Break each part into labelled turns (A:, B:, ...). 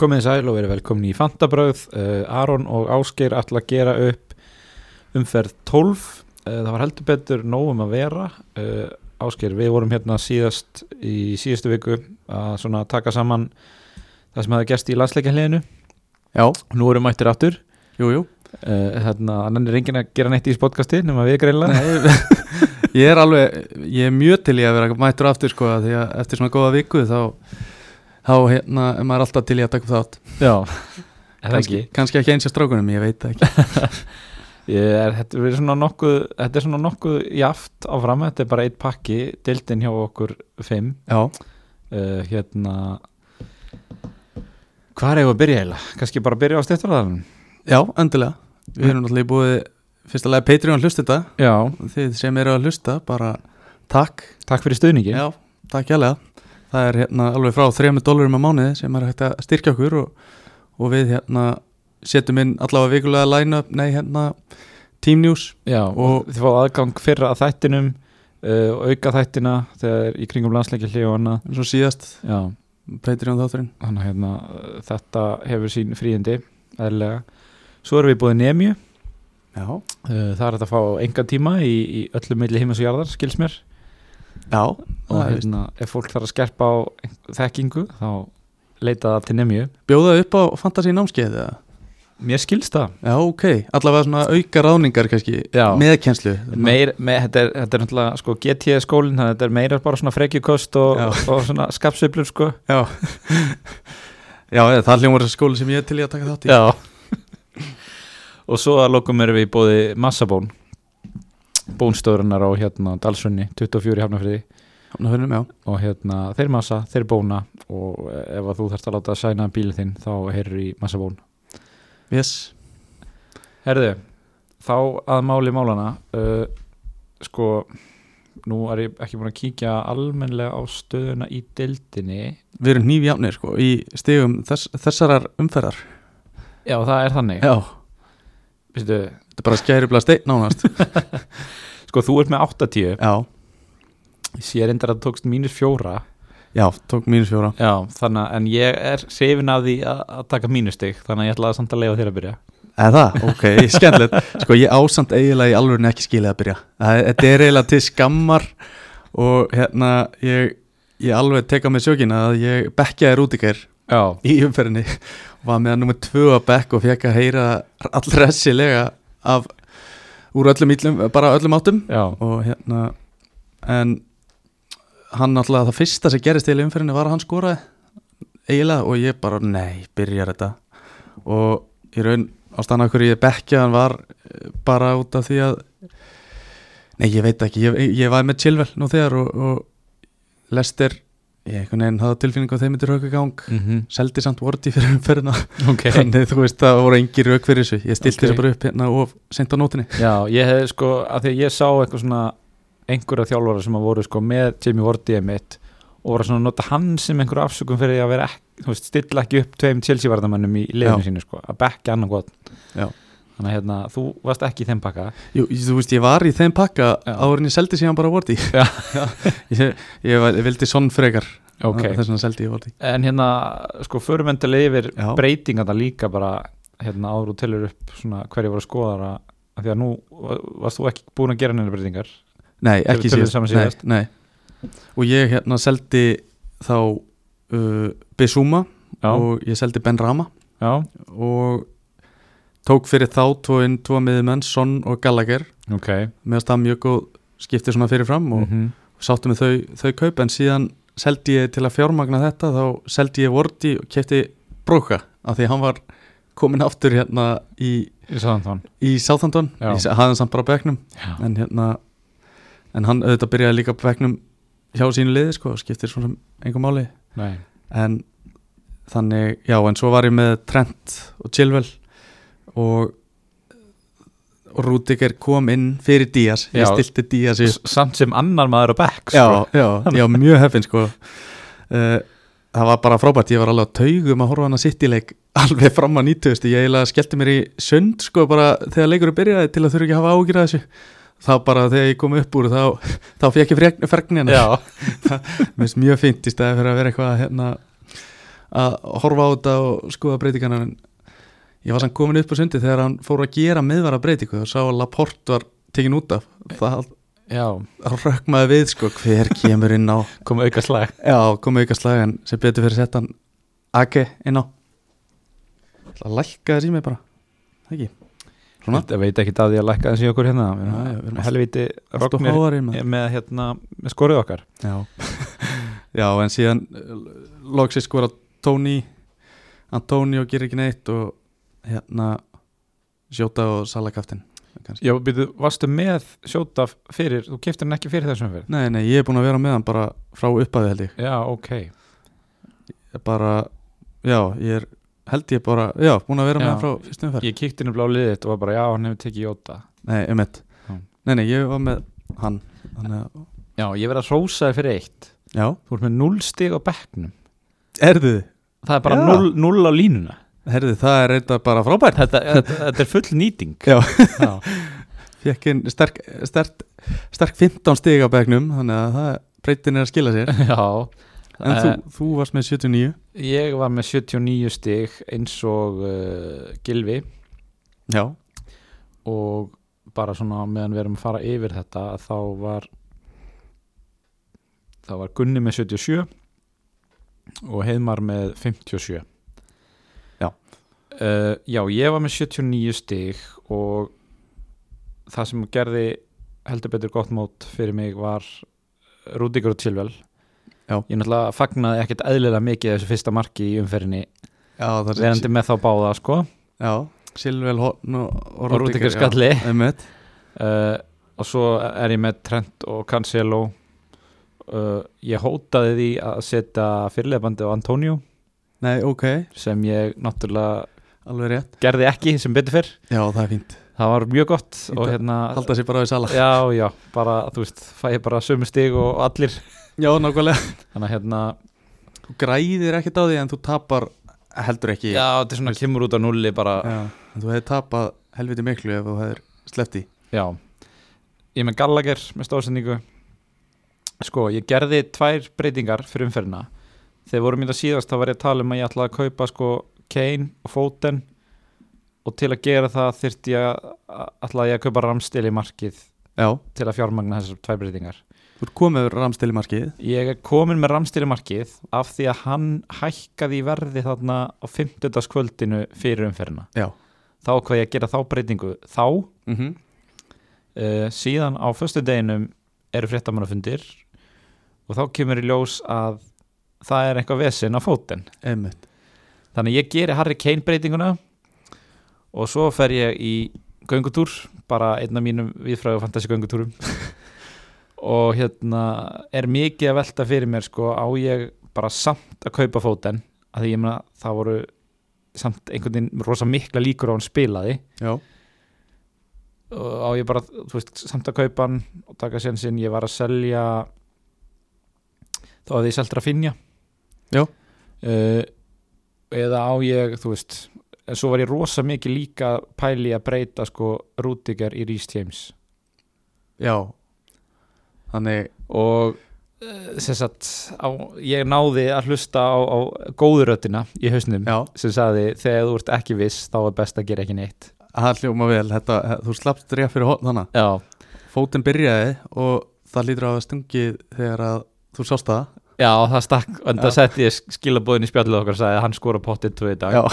A: Komið sæl og verið velkomin í Fantabröð uh, Aron og Ásgeir ætla að gera upp umferð 12 uh, Það var heldur betur nógum að vera uh, Ásgeir, við vorum hérna síðast í síðustu viku að svona taka saman það sem hafði gerst í landsleikahliðinu
B: Já,
A: Nú erum mættir aftur
B: jú, jú
A: uh, Þannig að hann er enginn að gera neitt í þessu podcasti nema við greinlega
B: Ég er alveg, ég er mjög til ég að vera mættur aftur sko af Því að eftir svona góða viku þá Þá hérna, er maður alltaf til ég að taka upp þátt
A: Já, eða
B: Kannski,
A: ekki
B: kannski ekki eins og strákunum, ég veit það ekki
A: Ég er, þetta, er svona nokkuð, þetta er svona nokkuð jaft áfram, þetta er bara eitt pakki dildin hjá okkur 5
B: Já,
A: uh, hérna hvað er ég að byrja eiginlega? kannski bara byrja á styrtarðarinn
B: já, endilega Við erum náttúrulega búið fyrst að lega Patreon hlusta þetta
A: já,
B: Þið sem eru að hlusta, bara takk
A: takk fyrir stuðningi
B: Já, takk jálega Það er hérna alveg frá 300 dólarum á mánuði sem er hægt að styrkja okkur og, og við hérna setjum inn allavega vikulega line-up, nei hérna Team News
A: Já, og þið fáið aðgang fyrra að þættinum uh, og auka þættina þegar í kringum landsleikilli og annað
B: eins og síðast
A: já,
B: Patreon þátturinn
A: þannig að hérna, uh, þetta hefur sín fríindi eðlilega. svo erum við búið nemiu uh,
B: Já,
A: Eh, það er hægt að fá enga tíma í, í öllum milli heimis og jarðar, skils mér
B: já
A: og
B: það er víst.
A: hérna, ef fólk þarf að skerpa á ein- þekkingu þá leita það til nemiu
B: Bjóða upp á fantasy námskeið eða?
A: mér skils það
B: Já, ok, allavega svona auka ráningar kannski
A: Já.
B: Meðkenslu
A: Meir, me, þetta, er, þetta er náttúrulega sko, GT skólinn, þannig að þetta er meira bara svona frekjukost og,
B: Já.
A: og svona skapsveiflur sko.
B: Já Já, eða, það hljómar þessi skóli sem ég er til í að taka þátt í
A: Já Og svo að lokum erum við í bóði Massabón Bónstöðurinnar á hérna Dalsunni 24 í Hafnafriði
B: Hafnarfirðinum, já.
A: og hérna þeir massa, þeir bóna og ef að þú þarft að láta sæna bílinn þinn þá heyrur í Massabón
B: Yes.
A: Herðu, þá að máli málana uh, sko nú er ég ekki búin að kíkja almenlega á stöðuna í deildinni
B: Við erum nýfjafnir sko í stigum þess, þessarar umferðar
A: Já, það er þannig
B: Já,
A: Vistu,
B: þetta er bara skæribla stein nánast
A: Sko þú ert með 80
B: Já,
A: Sér endar að þú tókst mínus fjóra
B: já, tók mínus fjóra
A: Já, þannig að en ég er sefin að því að, að taka mínustig Þannig að ég ætlaði samt að leiða þér að byrja
B: Eða, ok, skemmtilegt Sko ég ásamt eiginlega í alveg ekki skilið að byrja Það- Þetta er eiginlega til skammar og hérna ég, ég alveg teka með sjókina að ég bekkjaði rútikær
A: Já,
B: í umferðinni og var með að nummer tvö að bekk og fekk að heyra allressilega af úr öllum ítlum, bara öllum áttum
A: já,
B: og hérna en hann náttúrulega það fyrsta sem gerist til umferðinni var að hann skoraði eiginlega og ég bara nei, byrjar þetta og í raun ástæðan af hverju ég bekkja hann var eh, bara út af því að nei, ég veit ekki, ég, ég var með Chilwell nú þegar og, og Lester ég einhvern veginn hafði tilfinningu að þeim myndir höfka gang
A: mm
B: seldi samt Wordi fyrir umferðina
A: ok
B: þannig eh, þú veist það voru engin rauk fyrir þessu ég stilti
A: Ok.
B: þessu bara upp hérna og sent á nótinni
A: Já, ég hefði sko, að því að ég sá eitthvað svona einhverja þjálfara sem að voru sko með Jimmy Vortið mitt og voru svona að nota hann sem einhverju afsökum fyrir að vera ekki, þú veist, stilla ekki upp tveim Chelsea-vartamönnum í liðinu
B: Já.
A: sínu sko, að bekka annan gott
B: Já.
A: Þannig að hérna, þú varst ekki í þeim pakka
B: Jú, ég- þú veist, ég var í þeim pakka
A: Já.
B: áður en ég seldi síðan bara Wordi
A: Já.
B: ég, ég, var- ég vildi sonn frekar
A: Ok,
B: þess vegna seldi ég Wordi
A: En hérna, sko, förum endilega yfir
B: Já.
A: breytingarna líka bara hérna áður og telur upp svona hverju voru skoðara af því að nú va- varst þú ekki búin að gera neina breytingar
B: Nei,
A: Þegar
B: ekki
A: við tölum
B: síðast,
A: saman síðast.
B: Nei, nei. Og ég hérna seldi þá uh, Bissúma
A: Já,
B: og ég seldi Ben Rama
A: já,
B: og tók fyrir þá tóin tvo miðumenn, Son og Gallagher
A: ok
B: meðan það mjög góð skipti svona fyrirfram og
A: mm -hmm.
B: sáttu með þau, þau kaup en síðan seldi ég til að fjármagna þetta þá seldi ég Wordi og kefti Bróka af því að hann var komin aftur hérna í,
A: Ég sagði hann þann
B: í Southampton
A: Já.
B: ég hafði hann samt bara á bekknum
A: Já,
B: en hérna en hann auðvitað byrjaði líka á bekknum hjá sínu liði sko og skiptir svona einhver máli
A: nei,
B: en þannig já en svo var ég með Trent og Chilwell og og Rúdiger kom inn fyrir Díaz, ég
A: Já.
B: stilti Díaz
A: S- samt sem annar maður á bekk sko.
B: já, já, ég var mjög heppin sko uh, það var bara frábært ég var alveg á taugum að horfa hann að sitt í leik alveg fram að 90 ég eiginlega skellti mér í sund sko bara þegar leikur byrjaði til að þurfa ekki að hafa ágjur að þessu þá bara þegar ég kom upp úr þá, þá fekk ég fregnina
A: já.
B: mér finnst mjög fint í stæði fyrir að vera eitthvað að hérna að horfa á þetta og skoða breytingana en ég var samt komin upp á sundi þegar hann fór að gera miðvara breytingu og sá að Laporte var tekin út af það
A: já,
B: rökmaði við sko hver kemur inn á
A: kom auka slag
B: já, komið ykkar slag en sem betur fyrir settan Ake inn á Ég ætla að lækka þess í mig bara Það ekki Svona.
A: Ég veit ekki að því að lækka þessi okkur hérna
B: Já, já, við erum alltaf-
A: helviti
B: Alltaf
A: rognir
B: háar inn með
A: með, hérna, með skorið okkar
B: Já. Já, en síðan eh, loksið skora Tony Antonio gerir ekki neitt og hérna Sjóta og Salakaftin
A: Já, byrju, varstu með sjóta fyrir, þú keftir hann ekki fyrir þessum fyrir
B: Nei, nei, ég er búin að vera með hann bara frá uppaði held ég.
A: Já, ok,
B: ég bara, já, ég er held ég bara, já, búin að vera með
A: Já.
B: hann frá fyrstu umferð.
A: ég kíkti henni blá liðið þitt og var bara, já, hann hefur tekið jóta
B: Nei, um eitt
A: Já.
B: Nei, nei, ég var með hann Þannig að,
A: Já, ég verið að rósa þér fyrir eitt
B: já,
A: Þú ert með 0 stig á bekknum
B: erðu
A: Það er bara
B: Já.
A: 0, 0 á línuna
B: Herðu, það er reynda bara frábært
A: Þetta, þetta, þetta er full nýting
B: Já.
A: Já.
B: Fekk inn sterk, sterk, sterk 15 stig á begnum Þannig að það breytin er að skila sér
A: Já, Eh,
B: En þú, þú varst með 79
A: ég var með 79 stig eins og uh, Gilvi
B: Já,
A: og bara svona á meðan við erum að fara yfir þetta að þá var þá var Gunni með 77 og Heiðmar með 57
B: Já.
A: Eh, Já, ég var með 79 stig og það sem gerði heldur betur gott mót fyrir mig var Rúdíkur og Tilvel
B: Já.
A: Ég náttúrulega fagnaði ekkert eðlilega mikið þessu fyrsta marki í umferðinni
B: já það er
A: verandi með þá báða sko
B: Já, Silvel Horn og,
A: og Rúdíkur skalli
B: Um eitt
A: uh, og svo er ég með Trent og Cancelo uh, ég hótaði því að setja fyrirlefandi á Antonio
B: Nei, ok,
A: sem ég náttúrulega
B: alveg rétt
A: gerði ekki sem betur fyrr
B: Já, það er fínt
A: það var mjög gott
B: Fínt
A: og
B: að
A: hérna
B: Halda sér bara á í sala
A: já, já, bara, þú veist, fæ ég bara sömu stig og allir,
B: Já, nákvæmlega
A: þannig að hérna
B: Þú græðir ekkert á því en þú tapar heldur ekki
A: já, þetta er svona kemur út á nulli bara,
B: Já, en Þú hefði tapað helviti miklu ef þú hefðir sleppt í
A: Já, ég er með Gallagher með stóðsendingu Sko, ég gerði tvær breytingar fyrir umferðina Þegar vorum í það síðast þá var ég að tala um að ég ætlaði að kaupa sko Kane og Foden og til að gera það þyrfti ég að ætlaði ég að kaupa Ramstil í markið
B: Já,
A: til að fjármagna þessar tvær breytingar
B: þú ert komið ramstil í markið
A: Ég er komin með Ramstil í markið af því að hann hækkaði í verði þarna á 50. fyrir umferðina
B: Já
A: Þá hvað ég að gera þá breytingu þá
B: mm
A: uh, síðan á föstu deginum eru fréttamannafundir og þá kemur í ljós að það er eitthvað vesinn á fótinn
B: Einmitt
A: þannig að ég geri Harry Kane breytinguna og svo fer ég í göngutúr, bara einn af mínum viðfræðu fantasi göngutúrum og hérna er mikið að velta fyrir mér sko á ég bara samt að kaupa fótinn að því ég meina það voru samt einhvern veginn rosa mikla líkur á að hann spilaði
B: Já,
A: og á ég bara, þú veist, samt að kaupa hann og taka sér sinn, ég var að selja þá að ég seldur að finja
B: Já.
A: eða á ég, þú veist en svo var ég rosa mikið líka að pæli í að breyta sko Rúdiger í Rhys James
B: já Þannig,
A: og eh, sem sagt, á, ég náði að hlusta á, á góðuröddina í hausnum
B: já,
A: sem sagði þegar þú ert ekki viss þá er best að gera ekki neitt
B: það hljóma vel þetta, Þú slappst rétt fyrir hótt þannig
A: Já,
B: Fótinn byrjaði og það lítur á að stungið þegar að þú sást það
A: Já, það stakk, en það
B: Já.
A: setti ég skilabóðin í spjallið okkar og sagði að hann skora pottið tvö í dag að,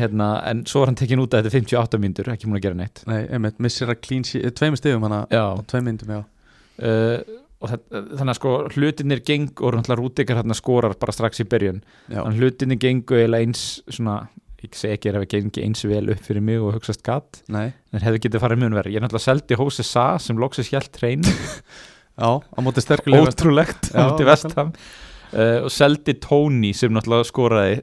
A: hérna, en svo var hann tekinn út að þetta er 58 mínútur, ekki múin að gera neitt
B: Nei, einmitt, missir að clean sheet, eh, tveimur stigum hana
A: Já,
B: Tveim myndum, já
A: uh, og þetta, þannig að sko hlutinir geng og náttúrulega rútikar hérna skorar bara strax í byrjun
B: Já,
A: þannig hlutinir gengu eiginlega eins svona, ég segi ekki að hafa gengið eins vel upp fyrir mig og hugsaðst gatt
B: nei,
A: en hefði getið farið mun verið, ég náttúrulega seldi Hósi Sa sem loksins hjælt trein
B: já, á móti sterkulega
A: ótrúlegt
B: Já,
A: á móti vestam uh, og seldi Tony sem náttúrulega skoraði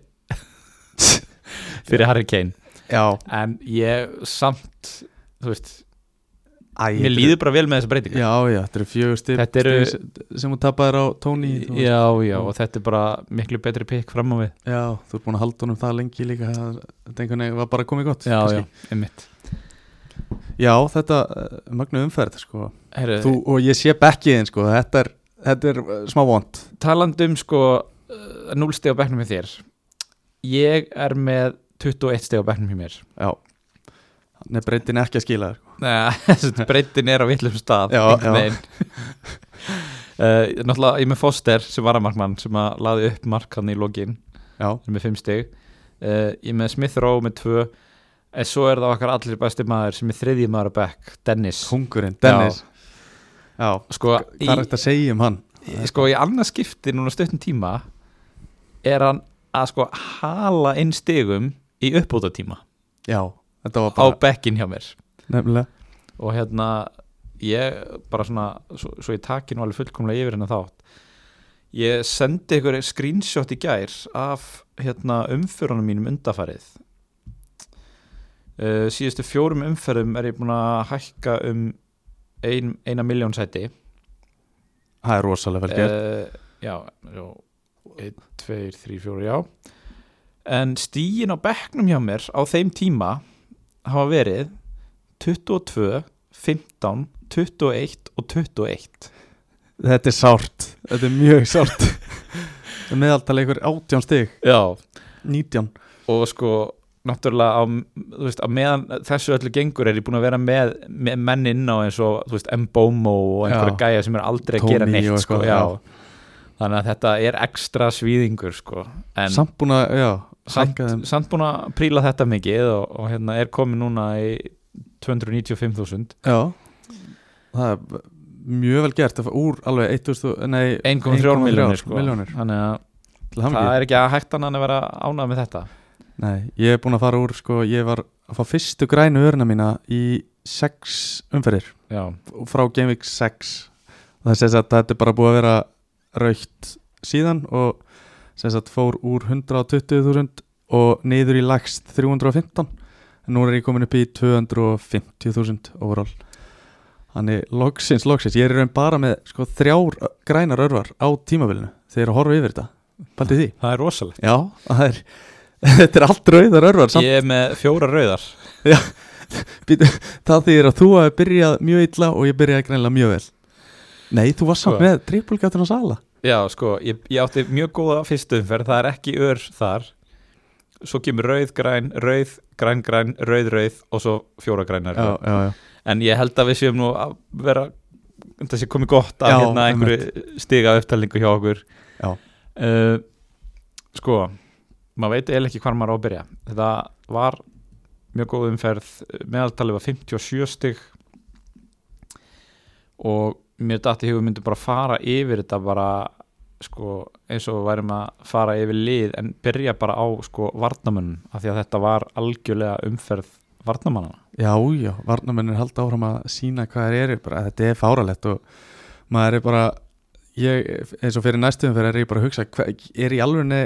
A: fyrir Harry Kane
B: Já,
A: en ég samt þú veist,
B: æ þetta
A: mér
B: eru-
A: líður bara vel með þessa breytingar
B: Já, já, þetta eru fjögur stig
A: Þetta eru-
B: stig sem hún tapaðir á Tony þú veist.
A: já, já, og þetta er bara miklu betri pikk fram á við
B: já, þú ert búin að halda honum það lengi líka Þetta einhvern veginn var bara komið gott kannski.
A: já, einmitt
B: Já, þetta magnu umferð sko.
A: Heru,
B: Þú, og ég sé bekkiðin sko. þetta, er, þetta er uh, smá vond
A: talandi um sko núlsti eh, á bekknum með þér ég er með 21 steg á bernum í mér
B: já Nei, breytin ekki að skila þér sko.
A: breytin er á villum stað
B: Já,
A: einhvern
B: já.
A: veginn. Eh, náttúrulega ég er með Foster sem varamarkmann sem að laði upp markan í lokin
B: Já,
A: sem er með 5 stig uh, ég er með Smith Rowe með 2 en svo er það okkar allir besti maður sem er þriðji maður að bekk, Dennis
B: kongurinn, Dennis Já,
A: sko, í,
B: hvað er þetta að segja um hann?
A: sko í annað skipti núna stöttum tíma er hann að sko hala inn stigum í uppbúta tíma
B: Já, þetta var
A: á
B: bara
A: bekkin hjá mér
B: Nefnilega
A: og hérna ég bara svona, svo, svo ég taki nú alveg fullkomlega yfir hérna þátt ég sendi ykkur screenshot í gær af hérna umförunum mínum undafarið uh, síðustu fjórum umferðum er ég búin að hækka um ein, eina miljón sæti
B: Það er rosalega vel gert
A: uh, Já, já 1, 2, 3, 4, já En stíin á bekknum hjá mér á þeim tíma hafa verið 22, 15, 21 og 21
B: Þetta er sárt, þetta er mjög sárt Meðaltal ykkur 18 stig
A: Já
B: 19
A: Og sko, náttúrulega á, þú veist, á meðan þessu öllu gengur er ég búin að vera með, með menn inn á eins og þú veist, Mbomo og einhverja
B: Já.
A: gæja sem er aldrei að
B: Tony
A: gera neitt
B: og
A: sko,
B: eitthvað,
A: já.
B: já.
A: Þannig að þetta er ekstra svíðingur sko. en,
B: Samt búin að, já,
A: samt,
B: hækka þeim.
A: samt búin að príla þetta mikið og, og hérna er komið núna í 295.000
B: Já Það er mjög vel gert Það var úr alveg 1000, nei
A: 1,3 miljónir sko
B: milljónir.
A: þannig að
B: Til hamingju.
A: það er ekki að hægt hann að vera ánað með þetta
B: Nei, ég er búin að fara úr sko, ég var að fá fyrstu grænu örna mína í sex umferðir
A: já,
B: frá Gameweek 6 það sést að þetta er bara búið að vera raukt síðan og sést að fór úr 120.000 og niður í lagst 315 en nú er ég komin upp í 250.000 overall þannig loksins, loksins, ég er í raun bara með sko þrjár grænar örvar á tímabilinu þegar að horfa yfir þetta, bæti því
A: það er rosalegt
B: Já, það er Þetta er allt rauðar örvar samt
A: ég er með fjóra rauðar
B: Það þýðir að þú hafi byrjað mjög illa og ég byrjaði greinlega mjög vel Nei, þú var samt
A: Sko.
B: með trippulgáttin á sala
A: já, sko, ég, ég átti mjög góða fyrstu umferð það er ekki ör þar svo kemur rauð, græn, rauð, græn, græn rauð, rauð og svo fjóra grænar
B: Já, já, já
A: en ég held að við séum nú að vera þetta sé komið gott að
B: Já,
A: hérna einhverju stiga upptalningu hjá okkur
B: Já.
A: Eh, sko maður veit eða ekki hvar maður á að byrja þetta var mjög góð umferð meðaltalið var 57 stig og mér dætti hefur myndi bara fara yfir þetta bara sko eins og við værum að fara yfir lið en byrja bara á sko varnamönnum af því að þetta var algjörlega umferð varnamannana
B: Já, já, varnamennir halda áfram að sína hvað þeir eru bara, þetta er fáralegt og maður er bara ég, eins og fyrir næstum fyrir er ég bara að hugsa hva, er í alvegni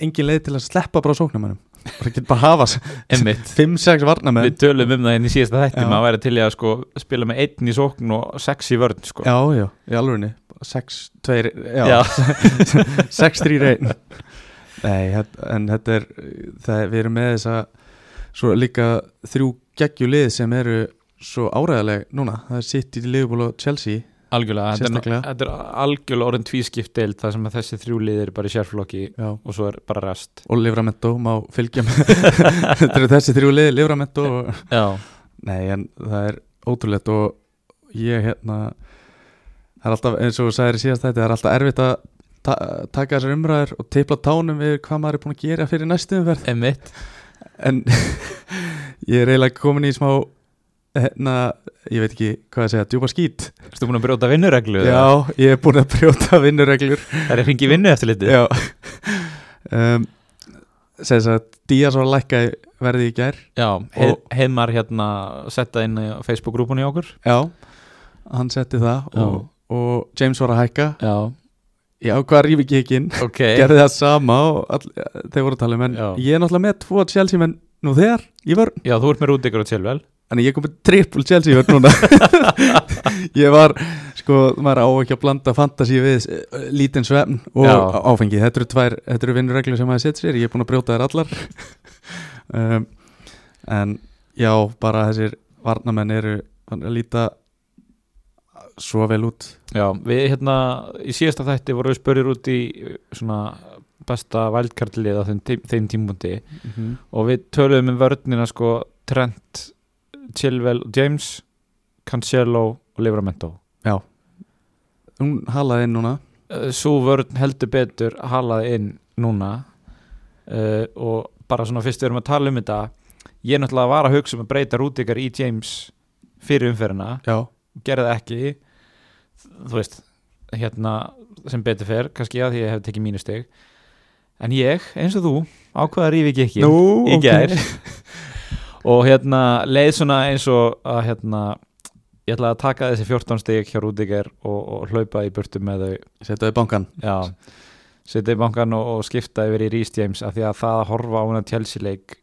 B: engin leið til að sleppa bara sóknamennum bara getur bara að hafa
A: Einmitt.
B: 5-6 varnamenn
A: við tölum um það hérna í síðasta þætti
B: Já.
A: maður væri til í að sko, spila með einn í sókn og sex í vörn sko.
B: Já, já, í alvegni 6-2, já,
A: Já.
B: 6-3-1 Nei, þetta- en þetta er það, við erum með þess að svo líka þrjú geggjulið sem eru svo áræðileg núna, það er City, Liverpool og Chelsea
A: algjörlega, þetta er,
B: Sérstaklega.
A: þetta er algjörlega orðin tvískipt deild þar sem að þessi þrjú liðir bara í sérflokki
B: já.
A: og svo er bara rest
B: og Livramento má fylgja með þetta eru þessi þrjú lið, Livramento og...
A: já,
B: Nei, en það er ótrúlegt og ég hérna það er alltaf, eins og þú sagðir í síðast þetta það er alltaf erfitt að ta taka þessar umræður og teipla tánum við hvað maður er búin að gera fyrir næstu umverð
A: emitt
B: en ég er eiginlega komin í smá hérna, ég veit ekki hvað að segja, djúpa skít
A: Erstu búin að brjóta vinnureglu?
B: Já, ég er búin að brjóta vinnureglur
A: Það er hringi vinnu eftir litið?
B: Já um, Segðs að Díaz var að lækka í verði í gær
A: Já, heið, heimar hérna setta inn í Facebook-grúpunni okkur
B: Já, hann setti það og, og James var að hækka
A: Já,
B: Já, hvað rífi ekki ekki inn
A: ok
B: Gerði það sama og all, þeir voru að tala um en
A: Já.
B: ég er náttúrulega með tvo Chelsea menn nú þegar í vörn
A: Já, þú ert með rútikur og tilvel
B: Þannig ég kom með triple Chelsea vörn núna Ég var, sko, maður á ekki að blanda fantasy við eh, lítinn svefn og
A: Já.
B: Já. áfengi Þetta eru tvær, þetta eru vinnureglur sem maður sett sér Ég er búin að brjóta þær allar um, En já, bara þessir varnamenn eru að líta svo vel út
A: Já, við hérna í síðasta þætti vorum við spurðir út í uh, svona besta vældkartlið á þeim, tí- þeim tímundi og við töluðum um vörnina sko Trent, Chilwell og James Cancelo og Livramento
B: Hún halaði inn núna
A: Eh, Sú vörn heldur betur halaði inn núna uh, og bara svona fyrst við erum að tala um þetta ég náttúrulega var að hugsa um að breyta rútikar í James fyrir umferðina
B: Já,
A: gerði það ekki þú veist, hérna sem betur fer, kannski að því ég hef tekið mínu stig en ég, eins og þú ákvaða rífi ekki ekki
B: Nú,
A: í
B: ok.
A: gær og hérna leið svona eins og að hérna ég ætla að taka þessi 14 stig hjá Rúdiger og, og hlaupa í burtu með þau
B: setjaði bankan
A: já, setja í bankan og, og skipta yfir í Rhys James af því að það að horfa á hana Chelsea leik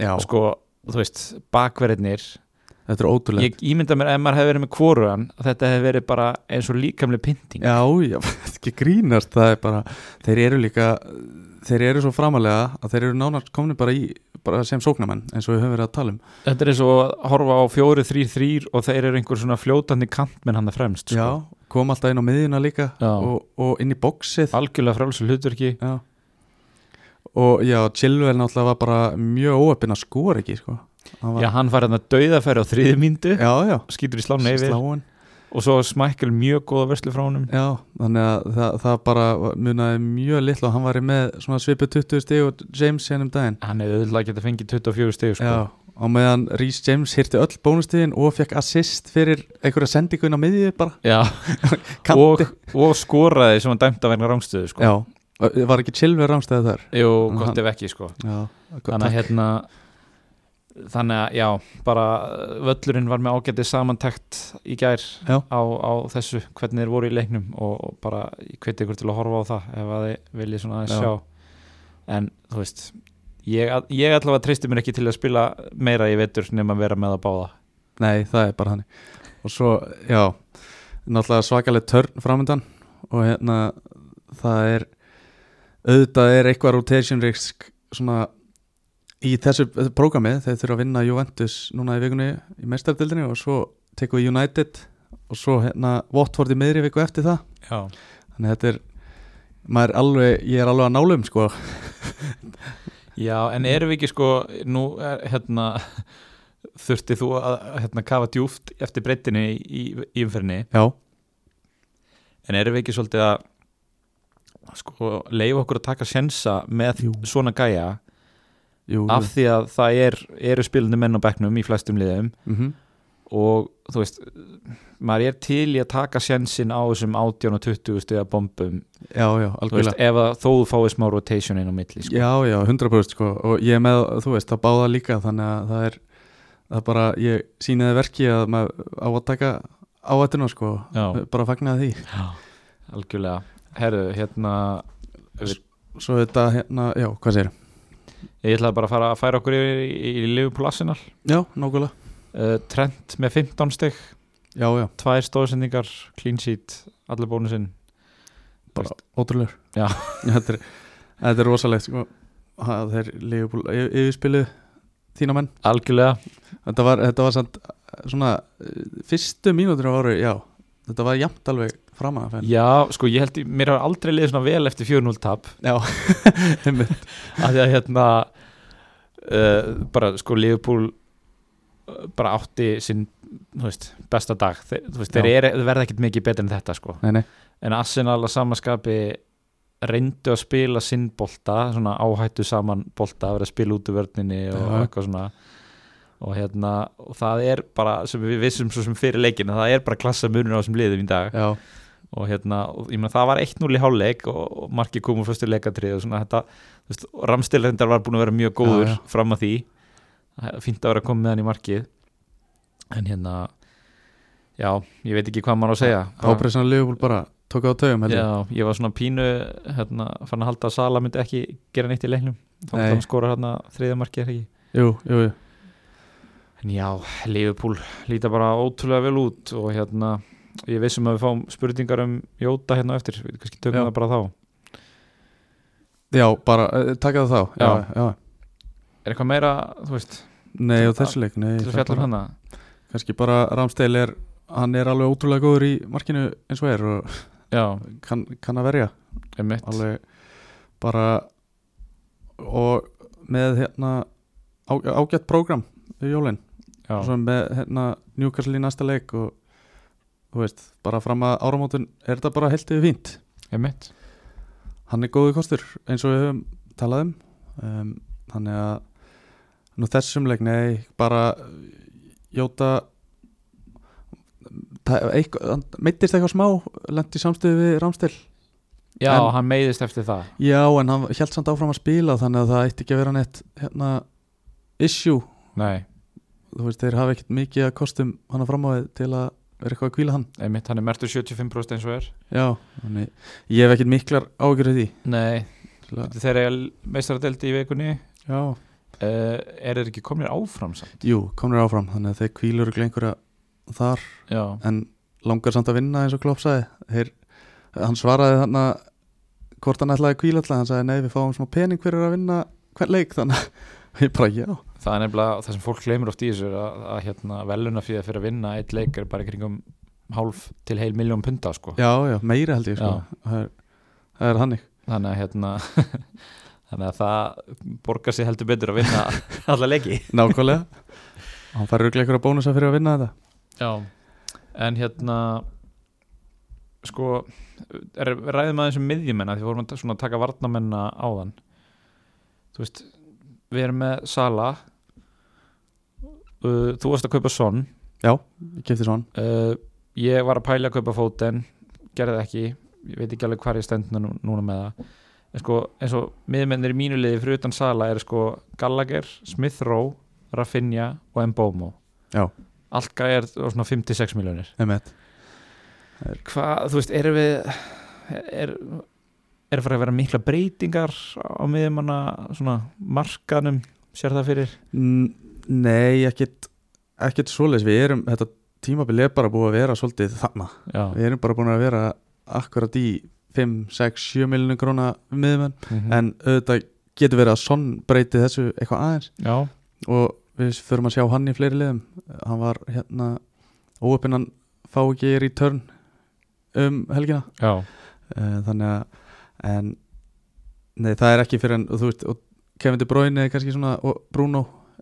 B: Já,
A: sko, þú veist, bakverðinir
B: þetta er ótrúlega
A: Ég ímynda mér að ef maður hefði verið með kvoruðan þetta hefði verið bara eins og líkamlega pynting
B: Já, já, þetta er ekki grínast það er bara, þeir eru líka þeir eru svo framalega að þeir eru nánast komni bara í, bara sem sóknamenn eins og við höfum verið að tala um
A: Þetta er eins og að horfa á fjóri, þrýr, þrýr og þeir eru einhver svona fljótandi kantmenn hann það fremst
B: Já, kom alltaf inn á miðjuna líka
A: Sko. Já.
B: og, og inn í bóksið
A: Algjörlega frálsum hlutverki
B: Já og já, Chilwell náttúrulega var bara mjög óöppin að skora ekki sko. Hann var,
A: Já, hann fær hérna dauðafæri á þriði myndu
B: já, já,
A: skýtur í slána yfir
B: sláin
A: og svo smækkel mjög góða verslu frá honum
B: Já, þannig að það, það bara munaði mjög litlu og hann var í með svona svipu 20 stig og James hérna um daginn
A: Hann hefði auðvitað getað fengið 24 stegu sko.
B: Já, á meðan Rhys James hirti öll bónustíðin og fekk assist fyrir einhverja sendingun á miðju bara
A: Já.
B: kanti.
A: og, og skoraði sem hann dæmt að verna rángstöðu sko.
B: Já, og var ekki chill við rámstæði þar
A: Jú, gott
B: Hann-
A: ef ekki sko.
B: Já,
A: þannig að hérna þannig að já, bara uh, völlurinn var með ágætið samantækt í gær
B: Já.
A: á, á þessu hvernig þeir voru í leiknum og, og bara ég hveti ykkur til að horfa á það ef að þið viljið svona aðeins
B: Já.
A: sjá en þú veist ég, ég allavega treysti mér ekki til að spila meira í vetur nema að vera með að báða
B: Nei, það er bara þannig Og svo, já, náttúrulega svakaleg törn framöndan og hérna það er auðvitað er eitthvað rotation risk svona í þessu prógrami þeir þurfa að vinna Juventus núna í vikunni í mestardildinni og svo tekur við United og svo hérna Watford í miðri viku eftir það
A: já.
B: þannig að þetta er maður er alveg, ég er alveg að nálum sko
A: já,
B: Mm.
A: en erum við ekki sko nú er, hérna þurfti þú að hérna, kafa djúft eftir breytinni í, í, í umferðinni
B: já,
A: En erum við ekki svolítið að sko, leifa okkur að taka sjensa með
B: Jú.
A: svona gæja
B: jú,
A: af því að það er, eru spilandi menn á bekknum í flestum liðum
B: mm
A: og þú veist, maður er til í að taka sjensin á þessum 18 og 20 stuða bombum
B: já,
A: þú
B: já,
A: veist,
B: algjörlega
A: ef að þó þú fáið smá rotation inn á milli sko.
B: Já, já, 100% sko og ég er með, þú veist, að báða líka þannig að það er, það er bara ég síniði verki að maður á að taka áættuna sko
A: Já.
B: bara fagnaði því
A: Já, algjörlega Herðu, hérna
B: Svo þetta, hérna, já, hvað segir
A: ég ætlaði bara að fara að færa okkur yfir í, í Liverpool Arsenal
B: Já, nákvæmlega
A: uh, Trent með 15 stygg
B: Já, já,
A: tvær stóðsendingar, clean sheet allir bónusinn
B: bara ótrúlegur
A: Já.
B: þetta, er, þetta er rosalegt sko það er lífbúl, yfirspilu þína menn
A: Algjörlega
B: Þetta var, þetta var samt, svona eh, fyrstu mínútur á ári, já þetta var jafnt alveg framan af henni
A: Já, sko, ég held, mér hafa aldrei liðið svona vel eftir 4-0 tap
B: Já, einmitt
A: af því að hérna uh, bara, sko, Liverpool uh, bara átti sinn, þú veist, besta dag þeir, þú veist,
B: Já.
A: þeir er, verða ekkert mikið betur en þetta, sko
B: Nei, nei,
A: en Arsenal að samaskapi reyndu að spila sinn bolta svona áhættu saman bolta að vera að spila út úr vörninni og
B: Já.
A: eitthvað svona og hérna, og það er bara sem við vissum svo sem fyrir leikinu, það er bara klassa munur á þessum liðum í dag
B: já
A: og hérna, og ég meina það var 1-0 í hálfleik og, og markið kom úr fyrstu leikatrið og svona þetta, þú veist, Ramstilendar var búin að vera mjög góður
B: Já, já.
A: fram að því Það er fínt að vera að koma með hann í markið en hérna já, ég veit ekki hvað maður á að segja Bara-
B: Ápressan Liverpool bara tók á taugum heldur
A: já, ég var svona pínu hérna, fann að halda að Sala myndi ekki gera neitt í leiknum, þá
B: Nei.
A: myndi hann skora hérna þriðja markið er ekki
B: Jú, jú, jú
A: en já, Liverpool líta bara ótrúlega vel út og hérna, ég vissum að við fáum spurningar um Jóta hérna á eftir, við kannski tökum
B: Já.
A: það bara þá
B: Já, bara uh, taka það þá
A: Já.
B: já.
A: er eitthvað meira, þú veist,
B: Nei,
A: Til
B: og þessu leik nei,
A: til að
B: það er
A: fjalla um
B: bara-
A: hana
B: Kannski bara Ramsteil er hann er alveg ótrúlega góður í markinu eins og er og
A: já,
B: kann, kann að verja
A: emitt
B: alveg bara og með hérna á, ágætt prógram við jólinn og
A: já,
B: svo með hérna Newcastle í næsta leik og þú veist, bara fram að áramótun er þetta bara heilt yfir fínt
A: emitt
B: hann er góðu kostur eins og við höfum talað um um, þannig að nú þessum leik, nei, bara uh, Jóta það- eitthvað- hann meittist eitthvað smá, lendi samstöðu við Ramstil,
A: já,
B: En-
A: hann meiðist eftir það
B: já en hann held samt áfram að spila þannig að það ætti ekki að vera neitt hérna, issue
A: nei,
B: þú veist, þeir hafa ekkert mikið að kostum hann að framáðið til að vera eitthvað að kvíla hann
A: emitt, hann er mertur 75% eins og er
B: já, þannig, ég hef ekkert miklar ágjörði því
A: nei,
B: til að-
A: þegar ég meistaradeldi í vikunni uh,
B: já,
A: er þeir ekki komnir áfram samt
B: jú, komnir áfram þannig að þeir kvílur ykkur einhverja þar
A: já,
B: en langar samt að vinna eins og Klopp sagði Þeir, hann svaraði þannig að hvort hann ætlaði að kvíla alltaf hann sagði nei við fáum smá pening fyrir að vinna hvern leik þannig að ég bara já
A: það er nefnilega það sem fólk gleymur oft í þessu er að, að hérna, veluna fyrir að vinna eitt leik er bara í kringum hálf til heil miljón punda sko.
B: já já meira held ég sko
A: Já.
B: það er, það er hannig
A: þannig að hérna þannig að það borgar sig heldur betur að vinna alla leiki
B: nákvæmlega hann fær röglega einhverja bónusa fyrir að vinna þetta
A: já, en hérna sko er, ræðum aðeins um miðjumenna því vorum að svona að taka varnamenna áðan þú veist við erum með Sala Uh, þú varst að kaupa Son
B: ég kefti svona
A: uh, ég var að pæla að kaupa fóten gerði það ekki, ég veit ekki alveg hvar ég stend nú- núna með það en sko, eins og miðmennir í mínu liði fyrir utan Sala er sko Gallagher, Smith Rowe Rafinha og Mbomo
B: Já.
A: allt gæjar og svona 56 miljónir
B: einmitt
A: hvað, þú veist, erum við er, er að fara að vera mikla breytingar á miðmanna svona markanum sér það fyrir
B: N- nei ekkit ekkit svoleiðis við erum þetta tímabili er bara búið að vera svolítið þarna
A: já,
B: við erum bara búin að vera akkurat í 5, 6, 7 miljonum gróna miðmenn
A: Mm.
B: en auðvitað getur verið að Son breyti þessu eitthvað aðeins
A: já,
B: og við förum að sjá hann í fleiri liðum hann var hérna óöpinn hann fá ekki return um helgina
A: já,
B: Eh, þannig að en nei það er ekki fyrir en þú veist og Kevin De Bruyne er kannski svona og Bruno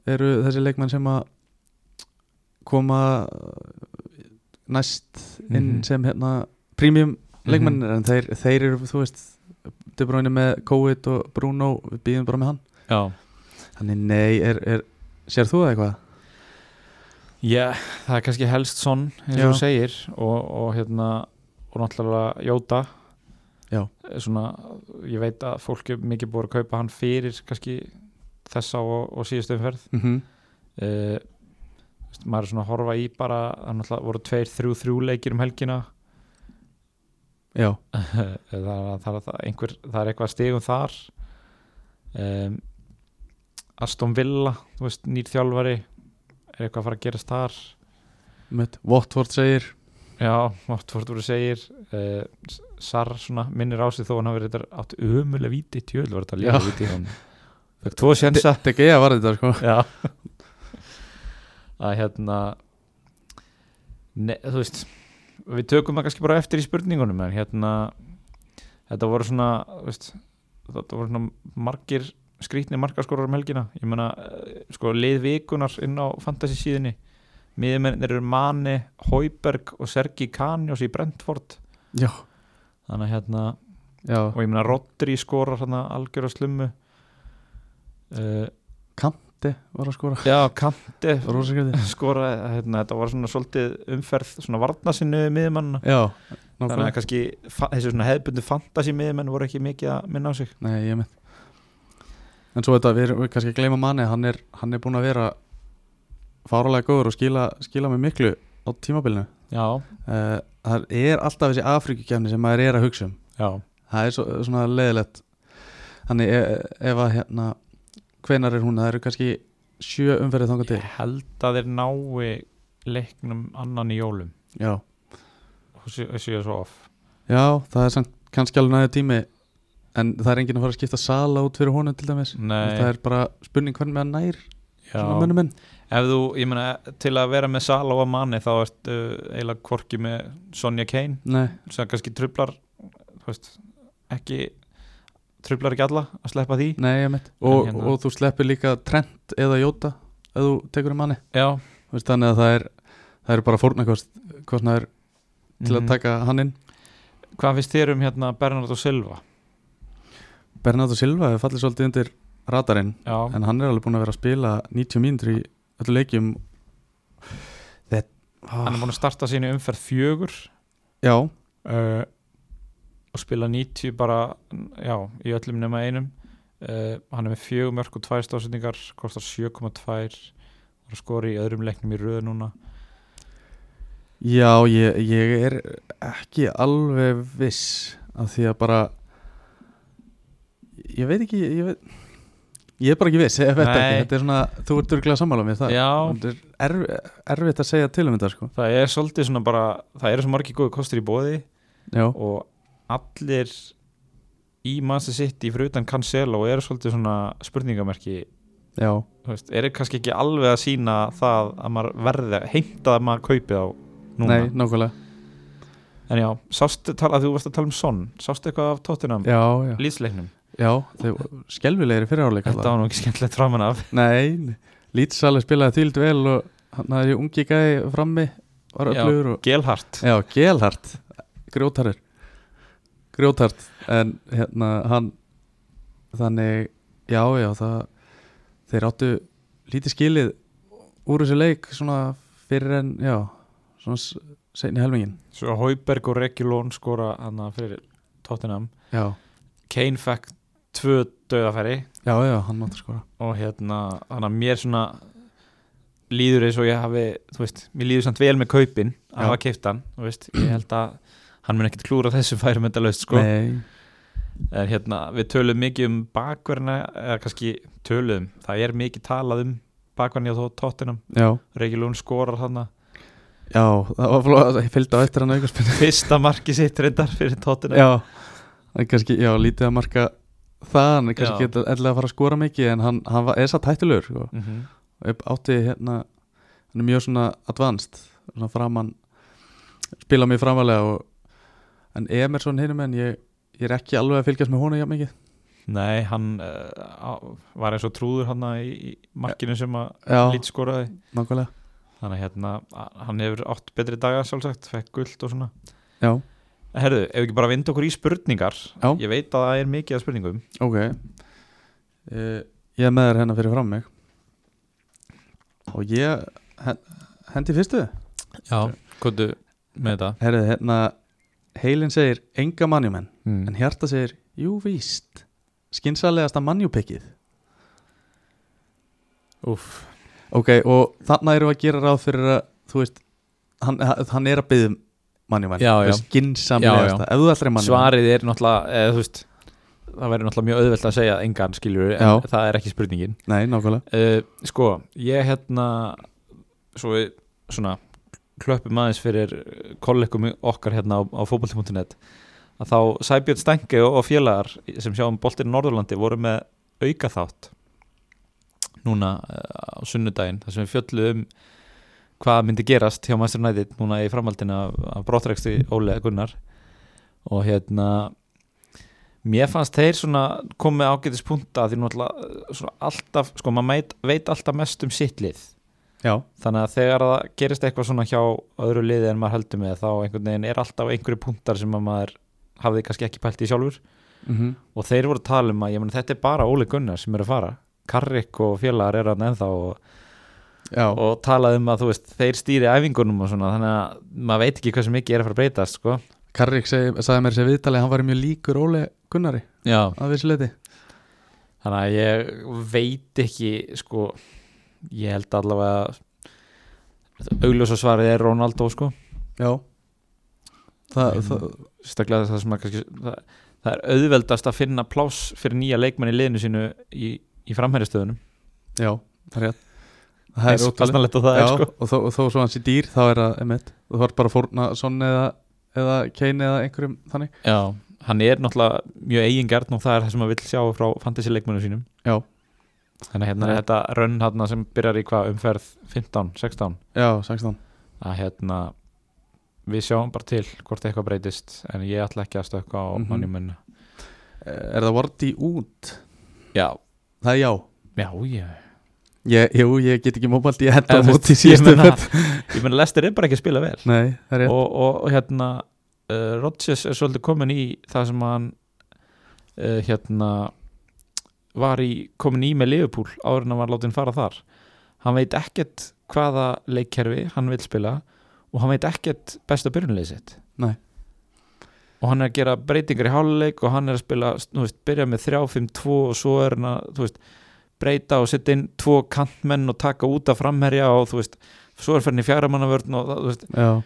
B: eru þessi leikmenn sem að koma eh, næst inn
A: Mhm.
B: sem hérna premium leikmenn en þeir, þeir eru þú veist De Bruyne með COVID og Bruno við býðum bara með hann
A: já
B: þannig nei, er, er, sér þú það eitthvað?
A: Já, það er kannski helst sonn eins
B: Já.
A: og þú segir og, og hérna og náttúrulega Jóta Eh,
B: Já.
A: svona, ég veit að fólk er mikið búið að kaupa hann fyrir kannski þessa og, og síðustu umferð
B: Mm -hmm.
A: uh, maður er svona að horfa í bara það náttúrulega voru tveir, þrjú, þrjú leikir um helgina
B: Já,
A: það, er- það, er- það, er einhver, það er eitthvað stigum þar um, Aston Villa þú veist, nýr þjálfari er eitthvað að fara að gerast þar
B: mitt Watford segir
A: Já, Watford voru segir uh, Sar svona minnir á sig þó hann hafi reyndar átt ömulega víti tjöl var þetta líka
B: Já.
A: víti hann Fekk tvo sjensa
B: Tegi ég að var þetta sko
A: Já að hérna ne, þú veist við tökum það kannski bara eftir í spurningunum en hérna þetta voru svona þú veist, þetta voru svona margir skrýtni markaskorar um helgina ég meina eh, sko lið vikunar inn á fantasy síðinni miðmennir eru Mane, Hauberg og Sergi Kanjós í Brentford
B: Já,
A: þannig að hérna
B: já
A: og ég meina Rodri skorar hérna algjör á slummu uh,
B: Kanti var að skora
A: já, Kante
B: Rósakriti
A: skora hérna, þetta var svona svolítið umferð svona varnasinnu miðmanna
B: Já,
A: þannig að
B: nákvæmlega
A: kannski fa- þessi svona hefðbundu fantasi miðmenn voru ekki mikið að minna á sig
B: Nei, ég mitt En svo þetta, við erum við kannski að gleyma manni hann er, hann er búin að vera fáralega góður og skila, skila með miklu á tímabilinu
A: já,
B: uh, Það er alltaf þessi Afrikukefni sem maður er að hugsa um
A: já,
B: það er svo, svona leðilegt þannig e- ef að hérna hvenar er hún, það eru kannski sjö umferðið þangað til
A: ég held að þeir nái leiknum annan í jólum
B: já.
A: og sé- og séu svo off
B: já, það er samt kannski alveg næðu tími en það er enginn að fara að skipta sala út fyrir honum til dæmis
A: Nei,
B: það er bara spurning hvernig með hann nær svona mönnum minn
A: Ef þú, ég meina, til að vera með Sala og Manni þá ertu eiginlega hvorki með Sonja Kane
B: Nei,
A: sem kannski trublar þú veist, ekki trublar ekki alla að sleppa því
B: nei, ég mitt og,
A: En hérna-
B: og þú sleppir líka Trent eða Jóta ef þú tekur um manni
A: Já,
B: Þú veist, þannig að það er, það er bara fórnakost kostnaður til að
A: mhm.
B: taka hann inn
A: Hvað finnst þér um hérna Bernardo Silva?
B: Bernardo Silva hefur fallið svolítið undir radarinn
A: Já,
B: en hann er alveg búin að vera að spila 90 mínútur í öllu leikjum Þetta
A: hann er búin að starta sínu umferð fjögur
B: Já,
A: uh, og spila 90 bara, já, í öllum nema einum uh, hann er með fjögur mörg og tvær stafsendingar, kostar 7,2 var að skora í öðrum leiknum í röðu núna
B: já ég, ég er ekki alveg viss af því að bara ég veit ekki ég, veit, ég er bara ekki viss ég veit ekki,
A: Nei.
B: þetta er svona, þú ert örgulega sammála mér það
A: Já.
B: Þetta er erf, erfitt að segja til um þetta sko
A: það er svolítið svona bara, það eru svo margir góðu kostur í bóði
B: Já,
A: og allir í Manchester City fyrir utan Cancelo eru svolítið svona spurningamerki
B: já,
A: þú veist, er kannski ekki alveg að sína það að maður verði heimtað að maður kaupi þá núna
B: nei, nákvæmlega
A: en já, sástu, tala, þú varst að tala um Son sástu eitthvað af Tottenham
B: Já, já,
A: lýsleiknum,
B: já, þau skelvilegri fyrir áleika
A: þetta var nú ekki skemmtilegt framan af
B: Nei, Leeds alveg spilaði þýld vel og hann hafði ungi gæði frammi var
A: Já.
B: öllur og
A: Gelhart,
B: Já, gelhart, grjótarir grjótart en hérna hann þannig, já, já það, þeir áttu lítið skilið úr þessu leik svona fyrir en, já svona seinni helmingin
A: svo Hauberg og Regulón skora hann fyrir Tottenham
B: Já,
A: Kane fekk tvö döðafæri
B: já, já, hann áttu skora
A: og hérna, þannig að mér svona líður eins og ég hafi þú veist, mér líður samt vel með kaupin
B: Já.
A: að hafa keipt hann, þú veist, ég held að hann mun ekkit klúra þessu færum þetta laust sko.
B: Nei,
A: en hérna, við tölum mikið um bakverðina, eða kannski tölum það er mikið talað um bakverðina hjá tóttinam,
B: já,
A: Reykjulún skorar hann
B: já, það var flóð ég fylgdi á eftir hann aukarspil
A: fyrsta marki sitt reyndar fyrir tóttinam
B: Já, það er kannski, já, lítið að marka það, hann er kannski
A: Já.
B: ekki eðlilega að fara að skora mikið en hann, hann var, er satt hættulegur sko.
A: mm -hmm.
B: Upp- átti hérna hann er mjög svona advanced svona framan, spila mjög framalega og, en Emerson hinum en ég, ég er ekki alveg að fylgjast með honum jafn mikið
A: nei, hann uh, á- var eins og trúður hann í, í markinu sem að
B: Já,
A: lít skoraði
B: nákvæmlega
A: þannig að hérna, a- hann hefur átt betri daga sjálfsagt, fekk guld og svona
B: Já,
A: Herðu, ef við ekki bara vind okkur í spurningar
B: Já.
A: ég veit að það er mikið af spurningum
B: ok uh, Ég er með þér hérna fyrir fram mig og ég hen- hendi fyrstu
A: Já, kontu með þetta
B: Herðu, hérna heilin segir enga mannjumenn
A: mm.
B: En hjarta segir, jú víst Skinsalegasta mannjúpikið
A: Úff,
B: Ok, og þarna erum við að gera ráð fyrir að Þú veist, hann, hann er að byggja mannjúmenn
A: Já, já. Já,
B: Skinsamlegasta, ef þú ætlar í mannjúmenn
A: svarið er náttúrulega eða, þú veist, það verður náttúrulega mjög auðvelt að segja engan skiljur, en
B: Já.
A: það er ekki spurningin
B: Nei, nákvæmlega
A: uh, Sko, ég hérna svo við svona klöppum aðeins fyrir kollegum okkar hérna á, á fótbolti.net að þá Sæbjörn Stengi og, og félagar sem sjá um boltinn í Norðurlandi voru með aukaþátt núna eh, á sunnudaginn þar sem við fjöllum um hvað myndi gerast hjá Master United núna í framhaldinu af, af brottreksti Óle Gunnar og hérna mér fannst þeir svona komið ágætis punta því náttúrulega eh, svona alltaf, sko maður meit, veit alltaf mest um sitt lið
B: Já,
A: þannig að þegar það gerist eitthvað svona hjá öðru liði en maður heldur með þá einhvern veginn er alltaf einhverju puntar sem að maður hafði kannski ekki pælt í sjálfur
B: mm
A: og þeir voru að tala um að ég meni þetta er bara Óli Gunnar sem er að fara Karrik og félagar er hann ennþá og
B: já,
A: og talaði um að þú veist þeir stýri æfingunum og svona þannig að maður veit ekki hversu mikið er að fara að breytast sko.
B: Karrik seg, sagði mér sér viðtalið Hann var mjög líkur Óle Gunnari
A: Já.
B: að vissu leiti
A: þannig að ég veit ekki sko, ég held allavega augljósa svarið er Ronaldo sko.
B: Já Þa,
A: Nei,
B: það,
A: staklega það sem að kannski það, það er auðveldast að finna pláss fyrir nýja leikmenn í liðinu sínu í, í framherjastöðunum
B: já, það er rétt Það
A: eins og kastnalegt og það
B: Já,
A: er sko.
B: og þó, og þó svo hans í dýr þá er það, emitt, þú þarf bara að fórna Sonni eða, eða Kane eða einhverjum þannig,
A: Já, hann er náttúrulega mjög eigingjarn og það er það sem maður vill sjá frá fantasy leikmennu sínum
B: já
A: þannig að hérna,
B: Nei.
A: þetta rönn hérna sem byrjar í hvað umferð 15, 16
B: já, 16
A: að hérna við sjáum bara til hvort eitthvað breytist en ég ætla ekki að stökka á mm
B: Mhm.
A: -hmm. manjumennu
B: Eh, Er það Vardy út?
A: já,
B: Það er já
A: já, já
B: ég, Jú, ég get ekki móbalt í henda
A: Eða,
B: á
A: þú
B: móti
A: veist,
B: í
A: ég
B: síðustu
A: meina-
B: ferð
A: ég meina Lester er bara ekki að spila vel
B: Nei, það er rétt
A: og, og, og hérna uh, Rodgers er svolítið komin í það sem hann uh, hérna var í, komin í með Liverpool áður en hann var látin fara þar hann veit ekkert hvaða leikkerfi hann vil spila og hann veit ekkert besta byrjunlið sitt
B: Nei.
A: og hann er að gera breytingar í háluleik og hann er að spila, þú veist, byrja með 3-5-2 og svo er hann að, þú veist breyta og setja inn tvo kantmenn og taka út af framherja og þú veist svo er fyrir fjáramannavörn og það, þú veist
B: Já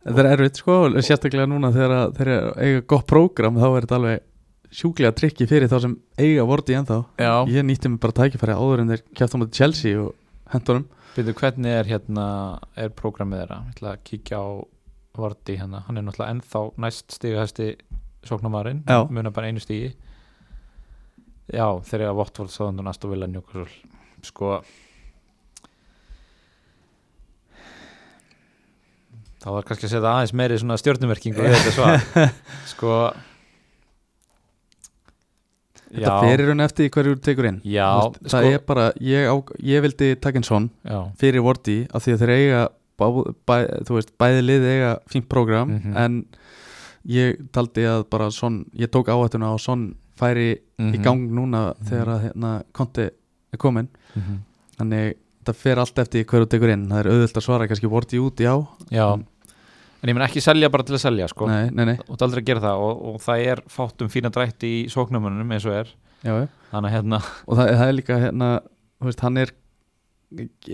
B: Það er erfitt sko, og sérstaklega núna þegar að- þeir eru að eiga gott prógram þá er þetta alveg sjúklega trikki fyrir þá sem eiga vorti ennþá
A: Já.
B: Ég nýtti mig bara tækifæri áður en þeir kæftum á Chelsea og hendunum
A: Byrðu, hvernig er hérna er prógramið þeirra? Ég ætla að kíkja á Vardi hérna, hann er náttúrulega ennþá næst stigahæsti sóknamarinn
B: Já.
A: munar bara einu stigi Já, þeir eru að Votvort sáðan og næst og vilja njúkasól sko þá var kannski að setja aðeins meiri svona stjórnumerkingu við þetta svar sko
B: Þetta fyrir hún eftir því hverju þú tekur inn
A: Já,
B: Þú veist, Það
A: sko-
B: er bara, ég, á, ég vildi taka inn svon
A: já,
B: fyrir vorti af því að þeir eiga bá, bæ, þú veist, bæði lið eiga fínt prógram
A: Mhm.
B: en ég taldi að bara svon, ég tók áhættuna og svon færi í
A: Mhm.
B: gang núna þegar að hérna konti er komin
A: Mhm.
B: þannig þetta fer allt eftir hverju þú tekur inn það er auðvöld að svara kannski vorti út já
A: já en ég menn ekki selja bara til að selja sko
B: nei, nei, nei
A: þú ert aldrei að gera það og, og það er fátt um fína drætti í sóknumönunum eins og er
B: já, já.
A: þannig að hérna
B: og það, það er líka hérna þú veist, hann er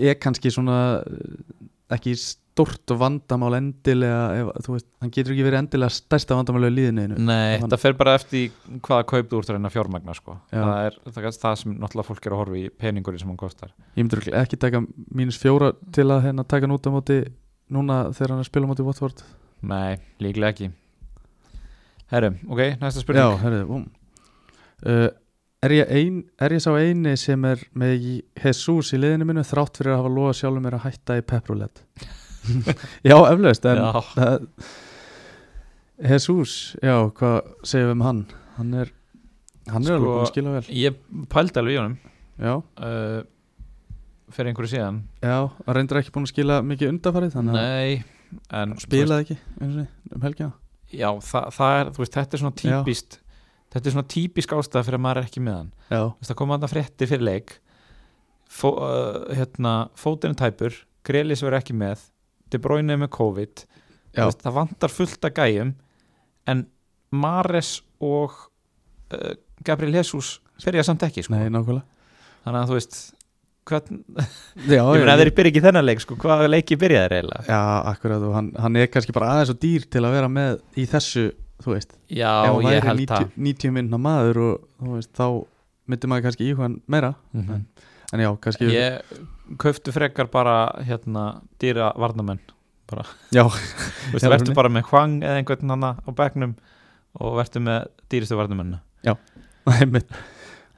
B: er kannski svona eh, ekki stórt vandamál endilega ef, þú veist, hann getur ekki verið endilega stærsta vandamál í liðinu þínu.
A: Nei,
B: Hann-
A: það fer bara eftir í hvaða kaup þú ert að reyna að fjármagna sko.
B: Já.
A: það er það, er það sem náttúrulega fólk er að horfa í peningurinn sem hann kostar
B: ég myndur ekki taka mínus fjóra til að hérna, taka hann út á móti núna þegar hann er að spila á móti Watford
A: Nei, líklega ekki Herru, ok, næsta
B: Já,
A: spurning
B: herðu, búm uh, er, ég ein, er ég sá eini sem er með Jesus í liðinu mínu þrátt fyrir að hafa loða sjálfum mér að hætta í pepprúlet Já, eflaust en
A: Já.
B: það, Jesus, já, hvað segjum við um hann? Hann er, hann er
A: Sko-
B: alveg búin að skila vel
A: Ég pældi alveg í honum
B: Já,
A: uh, fyrir einhverju síðan
B: já, hann reyndir ekki búin að skila mikið undanfarið þannig að
A: Nei, en þú
B: spilaði ekki einu sinni um helgina
A: veist, Já, það, það er, þú veist, þetta er svona
B: Já.
A: típist þetta er svona típisk ástæða fyrir að maður er ekki með hann Þú
B: Já,
A: veist, það koma þarna fréttir fyrir leik Fó, uh, hérna, fótinn er tæpur Grelis verður ekki með De Bruyne er með COVID Þú
B: já,
A: veist, það vantar fullt að gæjum en Mares og uh, Gabriel Jesus byrja samt ekki sko.
B: nei, nákvæmlega
A: þannig að þú veist hvern,
B: Já,
A: ég meina að þeir byrja ekki þennan leik sko, hvaða leiki byrja þeir eiginlega
B: Já, akkurat og hann, hann er kannski bara aðeins og dýr til að vera með í þessu, þú veist Ef hann
A: já, ég
B: væri
A: held
B: 90, 90 minna maður og þú veist, þá myndi maður kannski íhuga hann meira
A: það
B: en já, kannski
A: ég köftu frekar bara hérna, dýra varnamenn
B: já,
A: Þú veist,
B: Já,
A: verður
B: rauninni.
A: bara með Hwang eða einhvern hann á bekknum og verður með dýristu varnamennu
B: einmitt.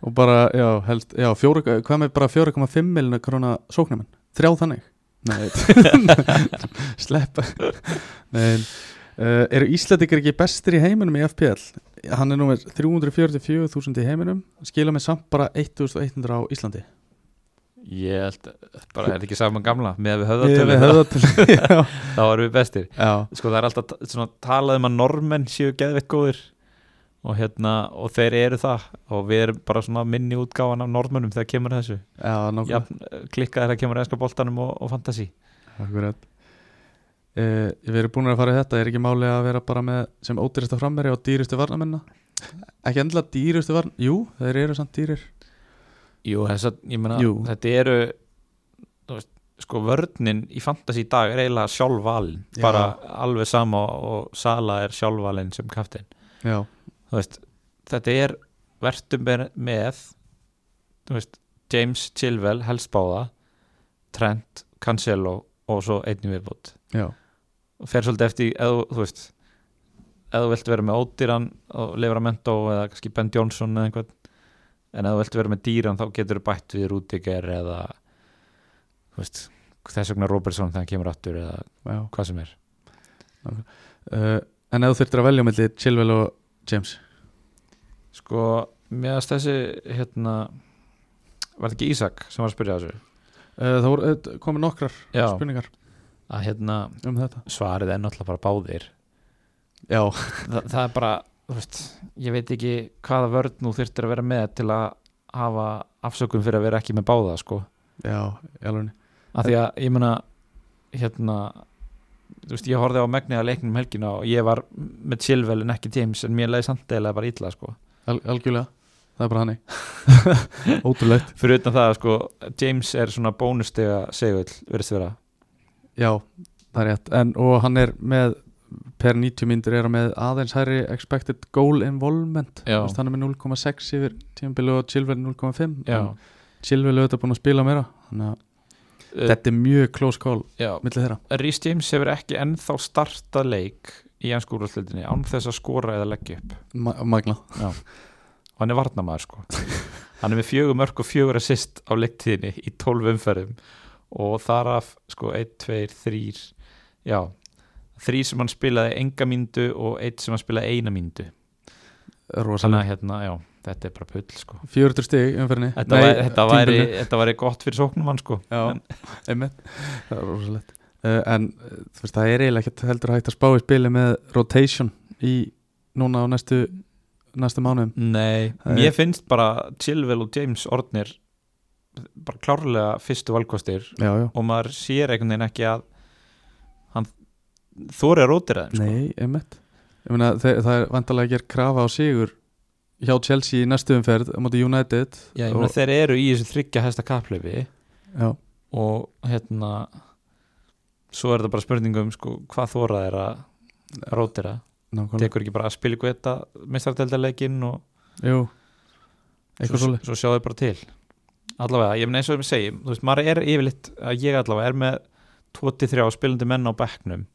B: og bara, já, helst já, fjóra, hvað með bara 4,5 milina krona sóknumenn, þrjá þannig Nei, sleppa Nei, uh, eru Íslandikar ekki bestir í heiminum í FPL? Hann er nú með 344.000 í heiminum skila með samt bara 1.100 á Íslandi
A: ég held, bara er þetta ekki saman gamla með við
B: Miðað
A: höfðatölu
B: við
A: höfða.
B: höfðatölu já.
A: þá erum við bestir
B: já,
A: sko það er alltaf ta- svona talað um að normenn séu geðveitt góðir og hérna, og þeir eru það og við erum bara svona minni útgáfan af norðmönnum þegar kemur að þessu
B: já, nákvæmlega
A: Jafn, klikka þegar kemur að enska boltanum og, og fantasi
B: Akkurat uh, Við erum búin að fara í þetta, er ekki máli að vera bara með sem ódýrasta frammeri og dýrustu varnamenna Ekki endilega dýrustu varn Jú, þeir eru samt dýrir
A: Jú, þess að, ég meina,
B: Jú.
A: þetta eru þú veist, sko vörnin í fantasi í dag er eiginlega sjálfvalin
B: Já.
A: bara alveg sama og Sala er sjálfvalin sem kaftin
B: Já,
A: þú veist, þetta er vertu með, með þú veist, James Chilwell helst báða, Trent Cancelo og svo einnig viðbútt
B: já,
A: og fer svolítið eftir, eða þú veist eða þú vilt vera með ódýran og Livramento eða kannski Ben Johnson eða einhvern en ef þú vilt vera með dýran þá getur þú bætt við Rúdiger eða þú veist, þess vegna Robertson þegar hann kemur aftur eða
B: já.
A: hvað sem er
B: Uh, en ef þú þurftir að velja melli Chilwell og James
A: sko, meðast þessi hérna var það ekki Ísak sem var að spyrja þessu
B: uh, þá voru- eh, komu nokkrar
A: já,
B: spurningar
A: að hérna
B: um þetta
A: svarið er náttúrulega bara báðir
B: já,
A: Þa, það er bara, þú veist, ég veit ekki hvaða vörð nú þyrftir að vera með til að hafa afsökun fyrir að vera ekki með báða, sko.
B: já, í alveg
A: Af því að, ég meina, hérna, þú veist, ég horfði á megnið að leiknum um helgina og ég var með Chilwell en ekki James en mér leiði samt eða bara illa, sko.
B: Al algjörlega, það er bara hannig ótrúlegt
A: Fyrir utan það, sko, James er svona bónustega segull, verðist vera.
B: já, það er rétt en, og hann er með per 90 myndur er hann með aðeins hærri expected goal involvement
A: Já.
B: Þú veist, hann er með 0,6 yfir tímabili og Chilwell 0,5
A: Já.
B: Chilwell er auðvitað búin að spila meira þannig að
A: Uh,
B: þetta er mjög close call
A: já.
B: millir þeirra
A: Rhys James hefur ekki ennþá startað leik í ennskúrúrslutinni án þess að skora eða leggja upp.
B: Ma magna
A: og hann er varnamaður sko hann er með fjögur mörg og fjögur assist á leiktíðinni í tólf umferðum og þar af sko 1, 2, 3 já, þrýr sem hann spilaði enga míndu og eitt sem hann spilaði eina míndu þannig
B: rosalega
A: að hérna, já, þetta er bara pull sko
B: 40 stig umfyrinni
A: þetta, væri, þetta, væri, þetta væri gott fyrir sóknum hann sko
B: Já,
A: En-
B: einmitt Það er rosalegt uh, En uh, þú veist, það er eiginlega ekkert heldur hægt að spá í spili með rotation í núna á næstu næstu mánuðum
A: nei,
B: Það er-
A: mér finnst bara Chilwell og James Ornir bara klárlega fyrstu valkostir
B: Já, já
A: og maður sér einhvern veginn ekki að hann þóri að rótira þeim sko.
B: Nei, einmitt Ég meina, þe- það er vandalega að gera krafa á sigur hjá Chelsea í næstu umferð á móti United
A: Já, ég meina
B: og,
A: þeir eru í þessu þryggja hesta kapplöfi
B: já,
A: og hérna svo er þetta bara spurning um sko, hvað þóra þeir að rótira
B: nákvæmlega
A: tekur ekki bara að spila ykkur þetta mistarteldarleikin og
B: Jú, eitthvað
A: svo,
B: svolítið
A: svo sjáðu bara til allavega, ég meina eins og við segjum þú veist, maður er yfirleitt, að ég allavega er með 23 spilandi menn á bekknum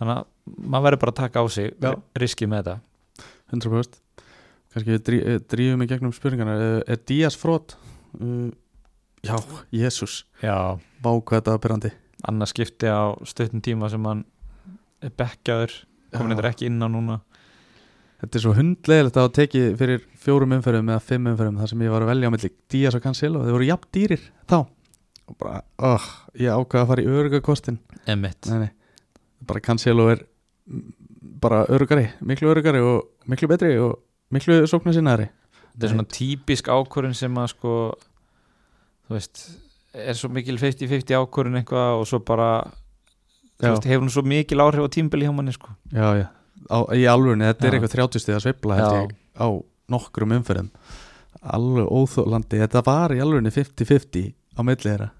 A: þannig að maður verður bara að taka á sig
B: Já.
A: riskið með þetta
B: 100% kannski við drí, eh, drífum í gegnum spurningarnar Eh, Er Díaz frott? Uh, já, Jésús
A: Já,
B: Vá hvað þetta er pyrrandi
A: annars skipti á stuttum tíma sem hann er bekkjaður komin þetta ekki inn á núna
B: Þetta er svo hundlegilegt að hafa tekið fyrir fjórum umferðum eða fimm umferðum þar sem ég var að velja á milli Díaz og Cancelo, þeir voru jafn dýrir þá og bara, oh, ég ákvaða að fara í örugakostin
A: Emmett
B: nei, nei, bara Cancelo er mm, bara örugari, miklu örugari og miklu betri og miklu sóknarsinari
A: þetta er svona típisk ákvörðin sem að sko þú veist er svo mikil 50-50 ákvörðin eitthvað og svo bara þú
B: Já.
A: veist, hefur hún svo mikil áhrif á tímbili hjá manni sko
B: Já, já, á, í alvörunni, þetta er
A: Já.
B: eitthvað 30 stig að sveifla held
A: Já.
B: ég, á nokkrum umferðum alveg óþólandi, þetta var í alvörunni 50-50 á milli þeirra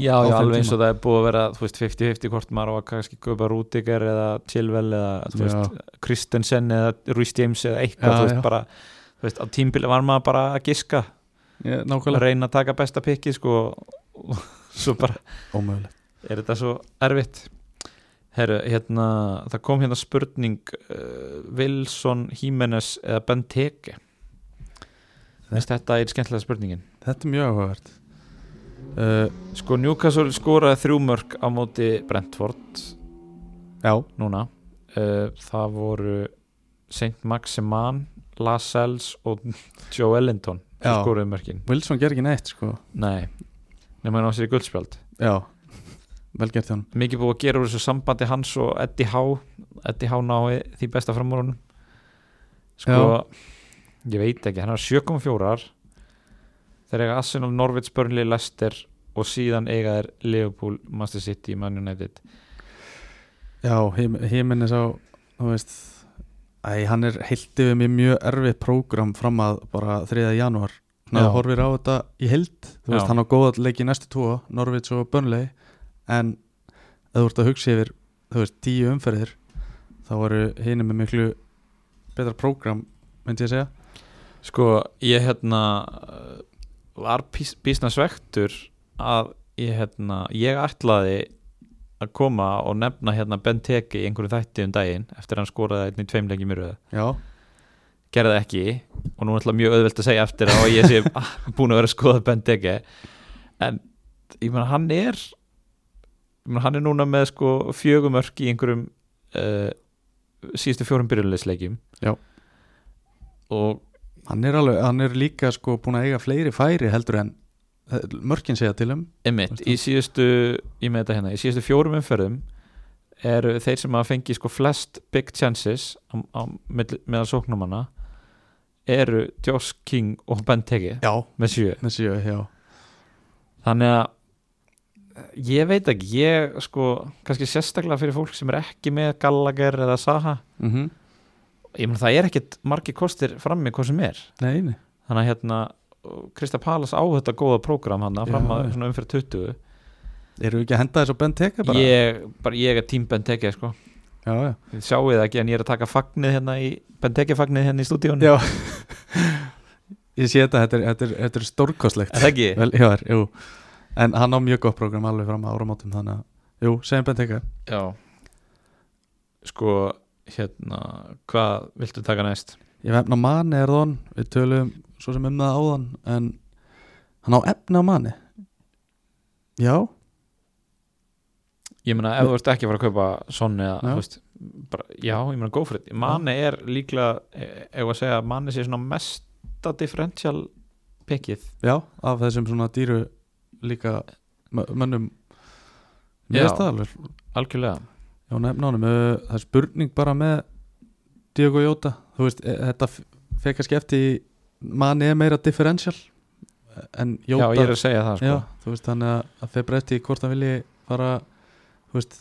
A: já,
B: á
A: já
B: þeim
A: alveg eins
B: tíma.
A: og það er búið að vera þú veist 50-50 hvort maður á að kannski köpa Rúdiger eða Chilwell eða þú
B: Já.
A: veist, Kristensen eða Rhys James eða eitthvað
B: Já,
A: þú veist
B: já.
A: bara þú veist á tímbili var maður bara að giska
B: Já,
A: að
B: nákvæmlega,
A: reyna að taka besta pikki sko og svo bara
B: ómögulegt
A: er þetta svo erfitt Herru, hérna, það kom hérna spurning uh, Wilson, Jimenez eða Benteke Þess þetta er skemmtilega spurningin
B: Þetta er mjög áhugavert uh,
A: Sko, Newcastle skoraði þrjú mörg á móti Brentford
B: Já,
A: núna uh, Það voru Saint Maximan, Lascelles og Joe Ellington sem
B: Já.
A: skoraði mörkin
B: Wilson ger ekki neitt sko
A: Nei, nema hann á sér í guldspjald
B: Já, vel gert hjá hann
A: mikið búið að gera úr þessu sambandi hans og Eddie Howe Eddie Howe nái því besta framúrunum sko ég veit ekki, hann er 7.4 þeir eiga Arsenal, Norvits, Burnley, Leicester og síðan eiga þeir Liverpool, Manchester City, Man United
B: Já, Híminnes á, þú veist Æ, hann er heilt yfir mér mjög erfið prógram fram að bara 3. janúar Þannig
A: Já.
B: að þú horfir á þetta í heild Þú
A: Já.
B: veist, hann á góða leik í næstu tvo Norvits og Burnley En ef þú ert að hugsa yfir, þú veist, tíu umferðir Þá eru hinni með miklu betra prógram, myndi ég segja
A: sko ég hérna uh, var pís- býsna svektur að ég hérna ég ætlaði að koma og nefna hérna Ben Teke í einhverju þætti um daginn eftir að hann skoraði einn í tveimleikjum í röðu
B: Já,
A: gerði það ekki og nú er alltaf mjög auðvelt að segja eftir að ég sé búin að vera að skoða Bendeke en ég meina hann er ég meina hann er núna með sko fjögumörk í einhverjum uh, síðustu fjórum byrjunleisleikjum
B: Já.
A: og
B: hann er, alveg, hann er líka sko búin að eiga fleiri færi heldur en eh, mörkin segja til um
A: Einmitt,
B: Veist
A: í síðustu ég með þetta hérna, í síðustu fjórum umferðum eru þeir sem að fengi sko flest big chances á, á, mill- meðal sóknumanna eru Josh King og Ben Tegi
B: já,
A: með sjö
B: með sjö, já,
A: þannig að eh, ég veit ekki, ég sko kannski sérstaklega fyrir fólk sem er ekki með Gallagher eða Saha
B: mm
A: ég menn það er ekkit margi kostir frammi hvað sem er
B: nei, nei
A: þannig að hérna Krista Palas á þetta góða prógram hann að fram að
B: Já.
A: svona umferð 20
B: eru ekki að henda þess að Ben teka bara
A: ég, bara, ég er tím Ben Tegi sko
B: já, já,
A: Þið sjáu það ekki en ég er að taka fagnið hérna í Bentekefagnið hérna í stúdíónu
B: Já. ég sé þetta, þetta er, þetta er, þetta er stórkostlegt
A: Er það ekki?
B: Vel, já, er, jú. en hann á mjög gott program alveg fram að áramótum þannig að jú, segjum Ben teka
A: Já Sko, hérna Hvað viltu taka næst?
B: ég vefna manni er þón, við tölum svo sem um það áðan en hann á efna manni já,
A: Ég meina, ef þú ert ekki að fara að kaupa Sonni eða,
B: Já.
A: þú veist bara, Já, ég meina, go for it Mane er líklega, e- ef að segja að Mane sé svona mesta differential pickið
B: Já, af þessum svona dýru líka mö- mönnum
A: Já.
B: Mér staðalur
A: Algjörlega
B: Já, nefnánum, það er spurning bara með Diego Jóta Þú veist, e- þetta fekk að skefti manni er meira differential en Jóta
A: Já, ég er að segja það, sko
B: Já, þú veist, þannig að- að feir breytti hvort hann vilji fara þú veist,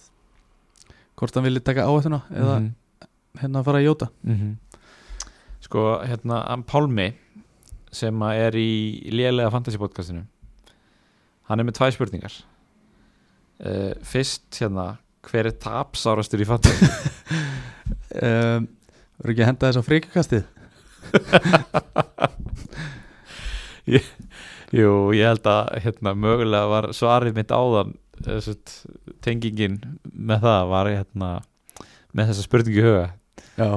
B: hvort hann vilji taka áhættuna eða
A: Mhm.
B: hérna fara í Jóta
A: Sko, hérna, hann Pálmi sem að er í lélega fantasy podcastinu hann er með tvæ spurningar uh, fyrst hérna hver er tapsárastur í fantasy
B: um, Voru ekki að henda þess á fríkakastið?
A: Jú, ég held að hérna mögulega var svarið mitt áðan þessut, tengingin með það var hérna með þessa spurningu í huga
B: Já,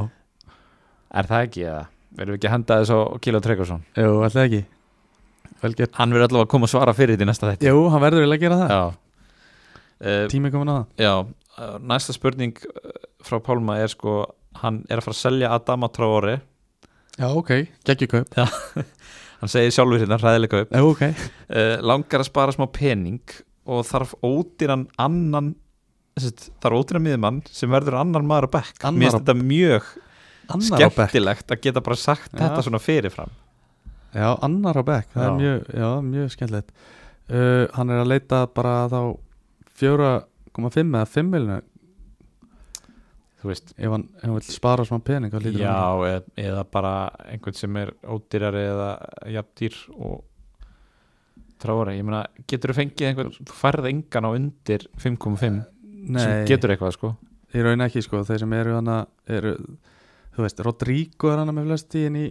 A: er það ekki eða? Verðum við ekki að henda þess á Kilo Trekkarsson?
B: jú, alltaf ekki Vel gert
A: Hann verður allavega að koma að svara fyrir þetta í næsta þætti
B: Jú, hann verður vel að gera það
A: Já uh,
B: Tími komin að
A: Já, eh, næsta spurning eh, frá Pálma er sko hann er að fara að selja Adama Traore
B: Já, ok, geggjur kaup
A: hann segir sjálfur hérna hræðilega upp
B: Já, ok
A: uh, langar að spara smá pening og þarf ódýran annan þess, þarf ódýran miðumann sem verður annan maður að bekk
B: Annar
A: mér
B: á-
A: finnst þetta mjög
B: Annar á bekk
A: skemmtilegt að geta bara sagt
B: Já.
A: þetta svona fyrirfram
B: Já, annar á bekk, það
A: Já.
B: er mjög, já, mjög skemmtilegt uh, Hann er að leita bara þá 4,5 eða 5 miljonar
A: þú veist,
B: ef hann, ef hann vil spara smá pening þá hlýtur
A: já,
B: hann-
A: eða, eða bara einhvern sem er ódýrari eða jafndýr og Traore, ég meina, getur þú fengið einhvern, þú færð engan á undir 5,5 sem
B: Nei,
A: getur eitthvað sko
B: ég raun ekki sko þeir sem eru hann að eru, þú veist, Rodrigo er hann með flest í í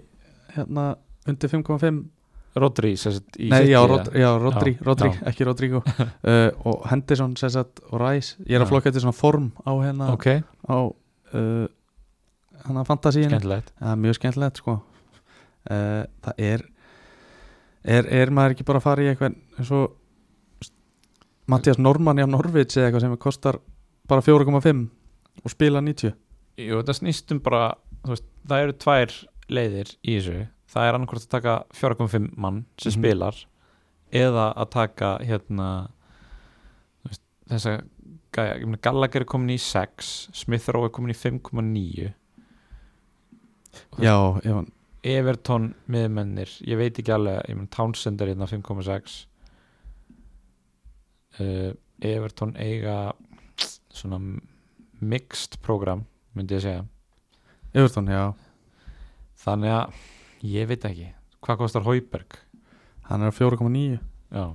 B: hérna undir 5,5
A: Rodri sem sagt, í
B: Nei,
A: City,
B: já,
A: eða?
B: Rod, já, Rodri,
A: Já,
B: Rodri
A: já.
B: ekki Rodrigo uh, og Henderson sem sagt, og Rice, ég er
A: Já.
B: að flokka eftir svona form á hérna
A: ok,
B: á uh, hann að fantasíinu
A: skemmtilegt
B: það er mjög skemmtilegt sko uh, það er, er er maður ekki bara að fara í eitthvað eins og Mattias Normann í á Norvits eða eitthvað sem kostar bara 4,5 og spila 90
A: Jú, þetta snýstum bara, þú veist, það eru tvær leiðir í þessu það er annarkvort að taka 4.5 mann sem
B: Mhm.
A: spilar eða að taka hérna þú veist, þessa gæja, ég meina Gallagher er komin í 6 Smith Rowe er komin í 5.9
B: já, ef hann
A: Everton miðmennir ég veit ekki alveg, ég menn Townsend er hérna 5,6 uh, Everton eiga svona m- mixed program, myndi ég segja
B: Everton, já,
A: þannig að, ég veit ekki hvað kostar Hauberg
B: hann er á 4,9
A: já,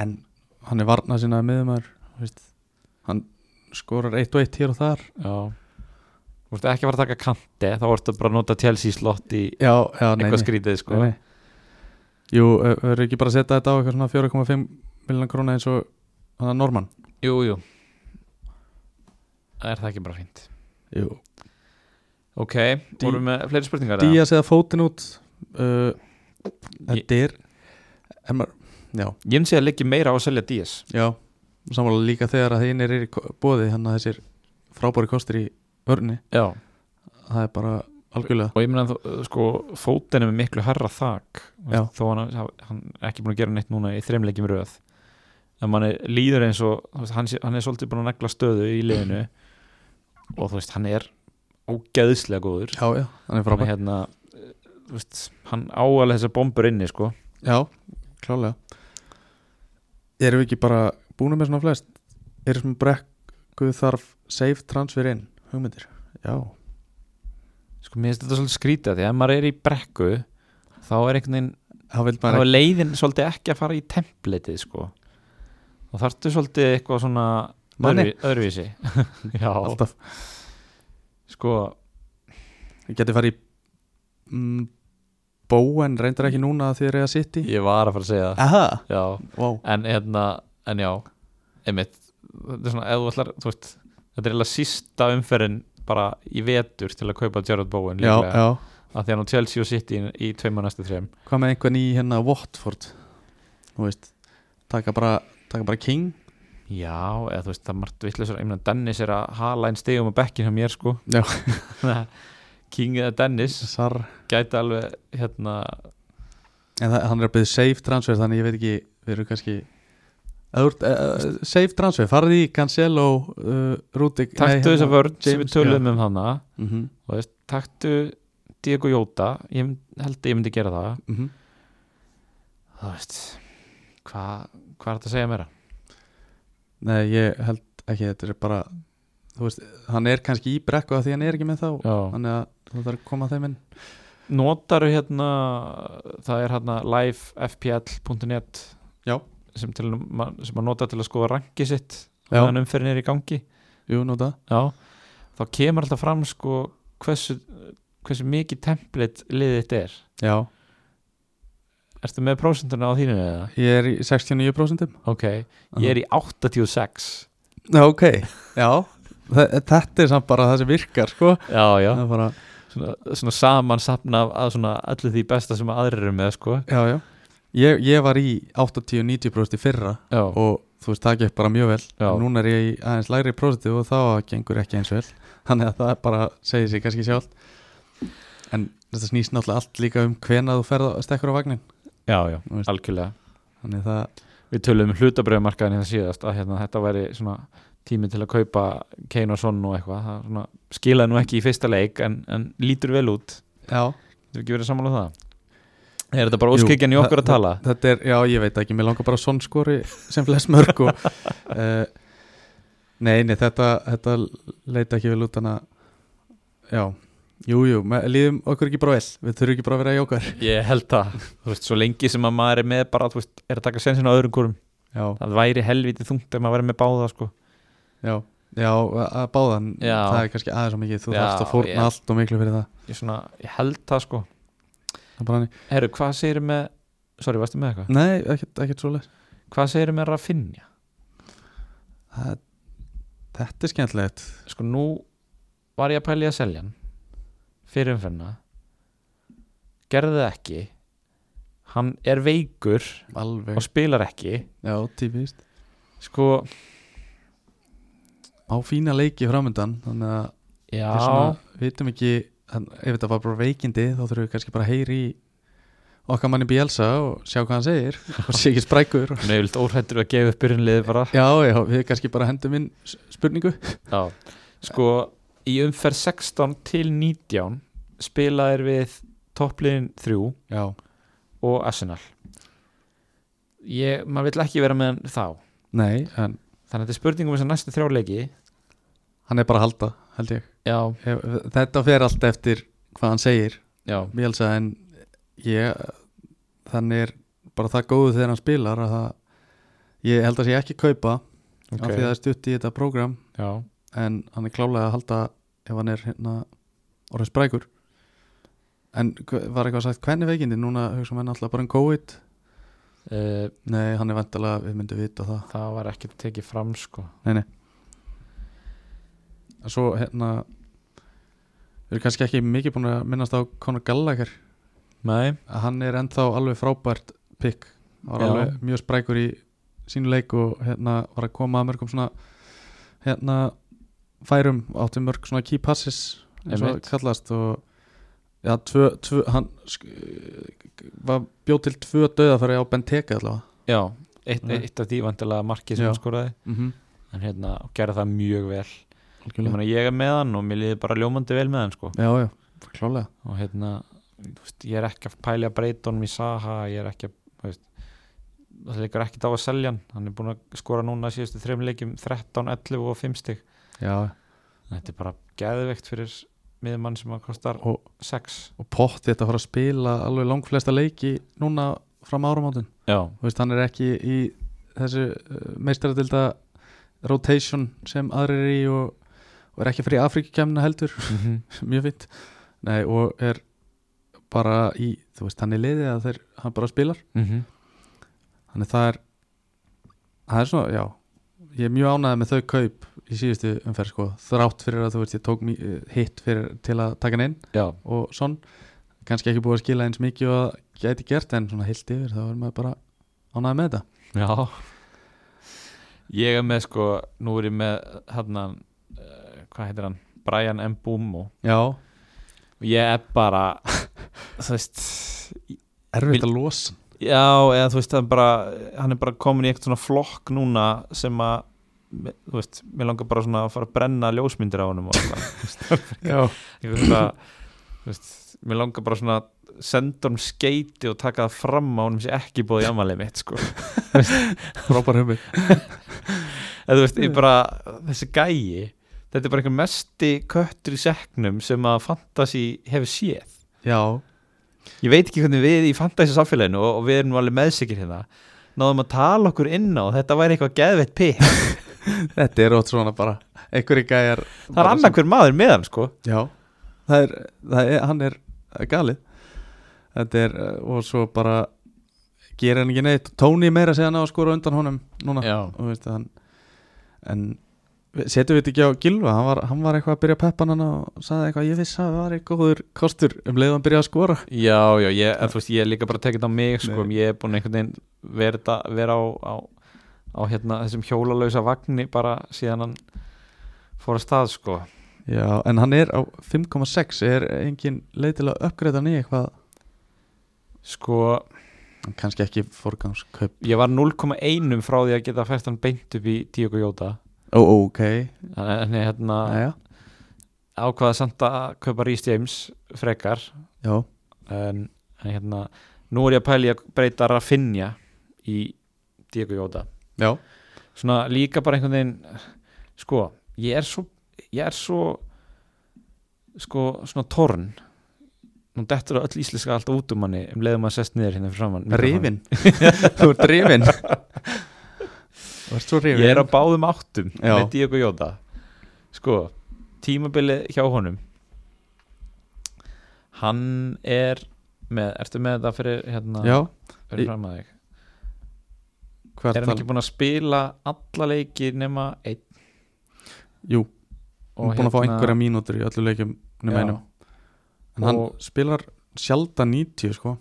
B: en hann er varnað sína miðumar hann skorar 1 og 1 hér og þar
A: já þú ert ekki að fara að taka kanti þá ertu bara að nota Chelsea slott í
B: já, já, nei,
A: eitthvað
B: nei.
A: skrítið sko
B: Nei, nei. Jú, ö- verður ekki bara að setja þetta á eitthvað svona 4,5 miljonar króna eins og hann að Norman
A: jú, jú er það ekki bara fínt
B: Jú,
A: Ok, vorum við með fleiri spurningar eða?
B: Díaz eða fótinn út uh, Þetta er en maður, Já,
A: Ég myndi að leggja meira á að selja Díaz
B: já Samanlega líka þegar að þeir eru í bóði Þannig að þessir frábæri kostir í vörni
A: Já,
B: Það er bara algjörlega
A: og ég meina að þú- sko fótinn er með miklu harra þak Þú
B: Já.
A: veist, þó hann, hann er ekki búin að gera neitt núna í þreimleikjum röð en mann er líður eins og þú veist, hann, sé- hann er svolítið búin að negla stöðu í liðinu og þú veist, hann er ógeðslega góður
B: Já, já, hann er
A: hann,
B: frábæri
A: hérna, eh, þú veist, hann áalega þessar bombur inni sko.
B: Já, klálega Erum við ekki bara búinu með svona flest Erum við brekku þarf Save transfer in, hugmyndir Já,
A: sko, mér finnst þetta svolítið skrítið af því að ef maður er í brekku þá er einhvern veginn
B: það vil
A: þá er
B: maður ekki
A: leiðin svolítið ekki að fara í templatið sko. og þarftu svolítið eitthvað svona
B: Manni.
A: öðru, öðruvísi já,
B: alltaf
A: sko
B: Við getum farið í mm, Bóen reyndar ekki núna að þið eru að sitt í
A: ég var að fara að segja það
B: Aha,
A: já,
B: wow
A: en hérna, en já einmitt, þetta er svona ef þú ætlar, þú veist, þetta er eiginlega sísta umferðin bara í vetur til að kaupa Gerard Bowen
B: já,
A: líklega,
B: já.
A: af því hann á Chelsea og City í, í tveima næstu þrejum
B: Hvað með einhvern í hérna Watford Þú veist Taka bara, taka bara King
A: Já, eða þú veist, það er margt vittlega ég meina Dennis er að hala einn stegum á bekkin hjá mér sko
B: Já.
A: King eða Dennis
B: Sar
A: gæti alveg hérna
B: En það, hann er að byrja safe transfer Þannig ég veit ekki Við erum kannski Ör, uh, Safe transfer Farði í Cancelo uh, Rúdik
A: taktu
B: hérna-
A: þessa vörn sem við
B: James,
A: töluðum um hana
B: mm -hmm,
A: og þú veist, taktu Diego Jóta, ég mynd- held að ég myndi gera það
B: mm -hmm.
A: þú veist hvað hva er þetta að segja meira?
B: Nei, ég held ekki Þetta er bara Þú veist Hann er kannski í brekku af Því hann er ekki með þá
A: Já.
B: Þannig að þú þarf að koma þeim inn
A: Notaru hérna það er hérna livefpl.net
B: Já.
A: sem, til, sem að nota til að skoða rangi sitt
B: Já.
A: meðan umferðin er í gangi
B: Jú, nota
A: Já, þá kemur alltaf fram sko hversu, hversu mikið template liðið þitt er
B: Já
A: Ertu með prósentuna á þínu eða?
B: Ég er í 69%
A: Ok, ég er í 86
B: Já, ok, já Þe- Þetta er samt bara það sem virkar sko.
A: Já, já,
B: Það er bara,
A: svona, svona saman sapna af- af svona allir því besta sem aðrir eru með sko
B: já, já. Ég, ég var í 80-90% í fyrra
A: Já,
B: og þú veist, það gekk bara mjög vel
A: Já.
B: núna er ég í aðeins lægri prósentu og þá gengur ekki eins vel þannig að það er bara, segir sig kannski sjálf en þetta snýst náttúrulega allt líka um hvena þú ferð að stekkur á vagnin
A: já, já,
B: Þú veist.
A: algjörlega
B: þannig það,
A: Við töluðum hlutabröðumarkaðin hérna síðast að hérna, þetta væri svona tími til að kaupa Kane og Son og eitthvað það svona, skilaði nú ekki í fyrsta leik en, en lítur vel út
B: já,
A: Getur ekki verið sammála um það? Er þetta bara
B: Jú,
A: óskikjan í
B: það-
A: okkur að tala?
B: þetta er, já, ég veit ekki mér langar bara sonskori sem flest mörg og uh, nei, nei, þetta, þetta leita ekki vel út þannig að já, jú, jú, me- líðum okkur ekki bara vel við þurfum ekki bara að vera í okkar
A: Ég held það, þú veist, svo lengi sem að maður er með bara, þú veist, er að taka sensin á öðrum hverjum
B: já,
A: það væri helviti þungt ef maður verið með báða, sko
B: já, já, að báðan
A: Já.
B: það er kannski aðeins og mikið, þú
A: Já,
B: þarfst að fórna
A: já.
B: allt og miklu fyrir það,
A: ég, svona, ég held það, sko
B: það er bara hannig
A: Herru, hvað segirðu með, sorry, varstu með eitthvað?
B: nei, ekkert, ekkert svo leir
A: Hvað segirðu með Rafinha?
B: þetta er skemmtilegt
A: Sko, nú var ég að pæla í að selja hann fyrir umferna gerði það ekki hann er veikur
B: alveg,
A: og spilar ekki
B: já, típist
A: sko,
B: á fína leiki framöndan þannig að
A: já
B: við svona vitum ekki hann, ef þetta var bara veikindi þá þurfum við kannski bara að heyri í okkar manni Bielsa og sjá hvað hann segir og sé ekki sprækur
A: Nei, vilt óhrættur að gefa upp byrjunliði bara
B: já, já, við kannski bara hendum inn s- spurningu
A: Já, sko í umferð 16 til 19 spilaðir við toppliðin 3
B: já,
A: og Arsenal ég, maður vill ekki vera með hann þá
B: nei, en
A: þannig að þetta er spurningum þess að næstu þrjáleiki
B: hann er bara að halda, held ég
A: já,
B: Ef- þetta fer allt eftir hvað hann segir
A: já,
B: Bielsa en ég þannig er bara það góðu þegar hann spilar að það, ég held að sé ekki kaupa af því að það er stutt í þetta prógram
A: já
B: en hann er klálega að halda ef hann er hérna orðið sprækur en hve- var eitthvað sagt hvernig veikindi núna hugsa menn alltaf bara um COVID
A: uh,
B: nei hann er vantilega við myndum vita það
A: það var ekki tekið fram sko
B: en svo hérna Við erum kannski ekki mikið búin að minnast á Conor Gallagher
A: Nei,
B: að hann er ennþá alveg frábært pick hann var
A: Já.
B: alveg mjög sprækur í sínu leik og hérna var að koma að mörgum svona hérna færum átti mörg svona key passes eins og
A: Einmitt.
B: kallast og já, tvö, tvö, hann sk, var bjóð til tvö döðafæri á Benteke allavega
A: já, eitt,
B: Nei.
A: eitt af því vantilega markið sem
B: Já.
A: hann skoraði
B: mm
A: en hérna, og gerði það mjög vel ég,
B: -hmm.
A: mena, ég er með hann og mér liði bara ljómandi vel með hann sko.
B: Já, já, klálega
A: og hérna, þú veist, ég er ekki að pæla breytunum í Saha, ég er ekki að þú veist, það leikur ekki þá að selja hann hann er búin að skora núna síðustu þreim leikjum 13, 11 og 5 stig
B: Já,
A: þetta er bara geðveikt fyrir miðmann sem að kostar
B: og,
A: 6
B: og pott þetta fara að spila alveg langflesta leiki núna fram áramáttin
A: já,
B: Þú veist, hann er ekki í þessu meistaradilda rotation sem aðrir er í og, og er ekki fyrir Afrikakemna heldur,
A: Mhm,
B: mjög fint Nei, og er bara í, þú veist, hann er liðið að þeir, hann bara spilar,
A: mhm.
B: þannig það er það er svona, já ég er mjög ánægð með þau kaup í síðustu umferð, sko, þrátt fyrir að þú veist ég tók mý- hitt fyrir til að taka hann inn
A: já,
B: og svon, kannski ekki búið að skila eins mikið og að gæti gert en svona heilt yfir, þá er maður bara ánægð með þetta
A: já ég er með sko nú er ég með hérna uh, hvað heitir hann, Brian M. Bumo
B: Já,
A: og ég er bara þú veist
B: erfitt að losa
A: já, eða þú veist hann, bara, hann er bara komin í eitthvað svona flokk núna sem að þú veist, mér langar bara svona að fara að brenna ljósmyndir á honum og eitthvað
B: Já,
A: Eitthvað svona, þú veist, mér langar bara svona að senda honum skeiti og taka það fram á honum sem ekki búið í amalið mitt sko
B: frábær hugmynd
A: eða þú veist, ég bara, þessi gæi þetta er bara einhver mesti köttur í seknum sem að fantasy hefur séð
B: Já,
A: ég veit ekki hvernig við í fantasy samfélaginu og, og við erum alveg meðsikir hérna náðum að tala okkur inn á þetta væri eitthvað geðveitt pikk
B: þetta er ótt svona bara einhverju gæjar
A: það er annað hver maður með hann sko
B: Já, það er, það er, hann er eh, galið Þetta er, uh, og svo bara gerir hann ekki neitt Tony meira segja hann á að skora á undan honum núna
A: já,
B: og veist að hann en við- setjum við þetta ekki á Gilva hann var, hann var eitthvað að byrja að peppa hann og sagði eitthvað, ég vissi að það var eitthvað góður kostur um leið og hann byrja að skora
A: já, ég, en, þú veist, ég er líka bara að tekja þetta á mig sko,
B: Nei.
A: ég er búin einhvern veginn verið að vera á, á, á hérna, þessum hjólalausa vagni bara síðan hann fór að stað sko
B: Já, en hann er á 5,6 er engin leið til að uppgreita hann í eitthvað
A: sko,
B: kannski ekki forgangskaup
A: ég var 0,1 frá því að geta fært hann beint upp í Diogo Jóta
B: Ó, oh, ok,
A: en ég hérna
B: aðja,
A: ákvaða samt að kaupa Rhys James frekar
B: já
A: en, en hérna nú er ég að pæli að breyta Rafinha í Diego Jóta
B: Já,
A: svona líka bara einhvern veginn sko, ég er svo ég er svo sko, svona torn nú dettur öll íslenska allt út um manni um leiðum að sest niður hérna fyrir framann
B: rifin Þú ert rifin Þú ert svo rifin
A: ég er á báðum áttum
B: Já.
A: með Diego Jota sko, tímabilið hjá honum hann er með, ertu með þetta fyrir hérna,
B: Já, í-
A: fyrir fram að þig
B: hvað
A: er hann ekki búin að spila alla leiki nema einn hérna-
B: Jú, hún er búin að fá einhverja mínútur í öllu leikjum nema
A: Já.
B: einum En hann
A: Og-
B: sko.
A: hérna, sko, hérna, sko,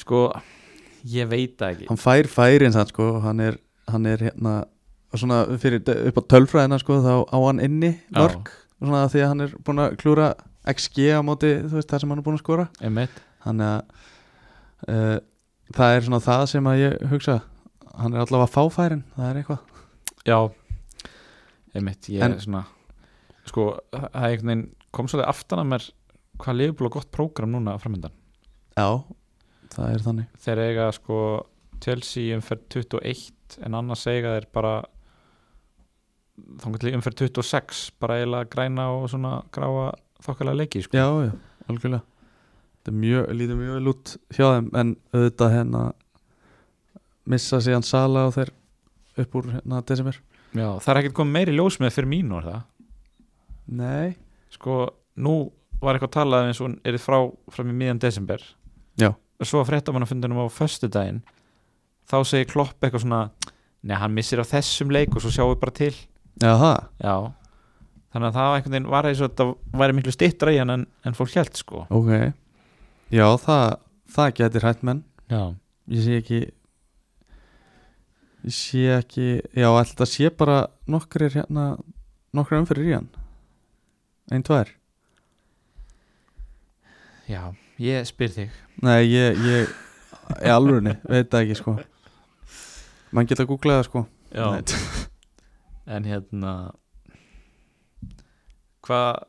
A: sko, ég veit það ekki
B: hann fær færin sann sko og hann er, hann er hérna svona fyrir, upp á tölfræðina sko þá á hann inni
A: Já.
B: mörg svona af því að hann er búin að klúra XG á móti þú veist það sem hann er búin að skora
A: Einmitt.
B: þannig að uh, það er svona það sem að ég hugsa hann er allavega að fá færin það er eitthvað
A: já, einmitt ég
B: En-
A: er svona sko, það það er einhvern veginn kom svolítið aftan að mér hvað liðbúl og gott prógram núna framöndan
B: já, það er þannig
A: þeir eiga sko Chelsea umferð 21 en annars eiga þeir bara þangar til umferð 26 bara eiginlega græna og svona gráa þokkalega leiki sko.
B: já, já, algjörlega þetta er mjög, lítið mjög vel út hjá þeim en auðvitað hérna missa síðan sala og þeir upp úr hérna desember
A: Já, það er ekkert komið meiri ljós með fyrir mínu er það
B: nei
A: sko, nú var eitthvað talað um eins og hún er frá fram í miðjan desember
B: Já.
A: og svo að fréttamannafundunum á föstudaginn þá segir Klopp eitthvað svona neða, hann missir á þessum leik og svo sjáum við bara til
B: Jaha,
A: Já Þannig að það var einhvern veginn var eins og þetta væri miklu stittra í hann en, en fólk held sko
B: ok Já, það, það getur hægt menn
A: Já,
B: Ég sé ekki Ég sé ekki Já, alltaf sé bara nokkrir hérna Nokkrir umfyrir í hann Einn, tvær
A: já, ég spyr þig
B: Nei, ég, ég Í alvörunni, veit það ekki sko Man geta að googla það sko Nei, t-
A: En hérna Hvað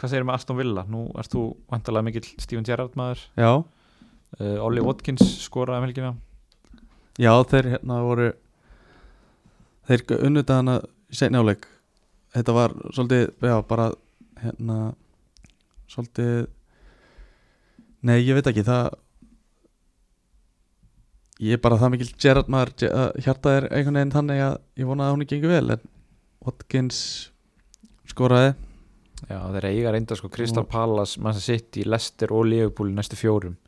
A: hva segir með Aston Villa? Nú ert þú vantalega mikill Steven Gerrard maður
B: Já,
A: uh, Ollie Watkins skoraði um helgina
B: já, þeir hérna voru Þeir unnvitað hana Seinni áleik Þetta var svolítið, já, bara Hérna Svolítið Nei, ég veit ekki, það Ég er bara það mikil Gerard maður, Ge- að hjarta er einhvern veginn þannig að ég vona að hún ekki gengur vel en Watkins skoraði
A: Já, þeir eiga reynda sko Crystal Palace, Massa City, Leicester og Liverpool í næstu fjórum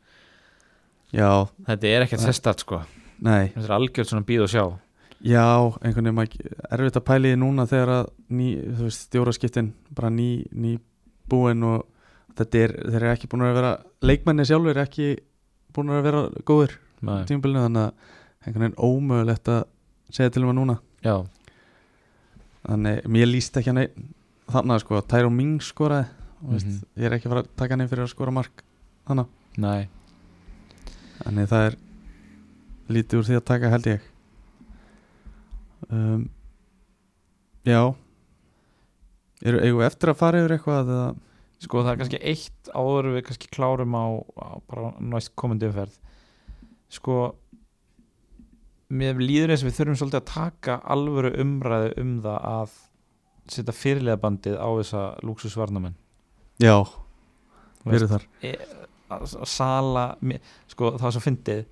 B: Já,
A: Þetta er ekkert
B: Nei.
A: sestat sko
B: nei
A: Þetta er algjörð svona býð og sjá
B: Já, einhvern veginn maður erfitt að pæli því núna þegar að ný, þú veist, stjóraskiptin bara ný, ný búin og þetta er, þeir eru ekki búin að vera leikmenni sjálfur er ekki búin að vera góður
A: Nei.
B: tímabilinu þannig að einhvern veginn ómögulegt að segja til um að núna
A: Já,
B: þannig, mér líst ekki hann einn þannig að sko, Tyró Ming skoraði mm veist, ég er ekki að fara að taka hann inn fyrir að skora mark þannig,
A: nei
B: þannig það er lítið úr því að taka held ég um, Já eru eigum við eftir að fara yfir eitthvað eða,
A: Sko það er kannski eitt áður við kannski klárum á, á bara næst komandi umferð Sko mér líður eins og við þurfum svolítið að taka alvöru umræðu um það að setja fyrirlega bandið á þessa lúksusvarnamenn
B: Já,
A: Þú
B: við erum þar
A: e, að- að Sala, mér- sko það var svo fyndið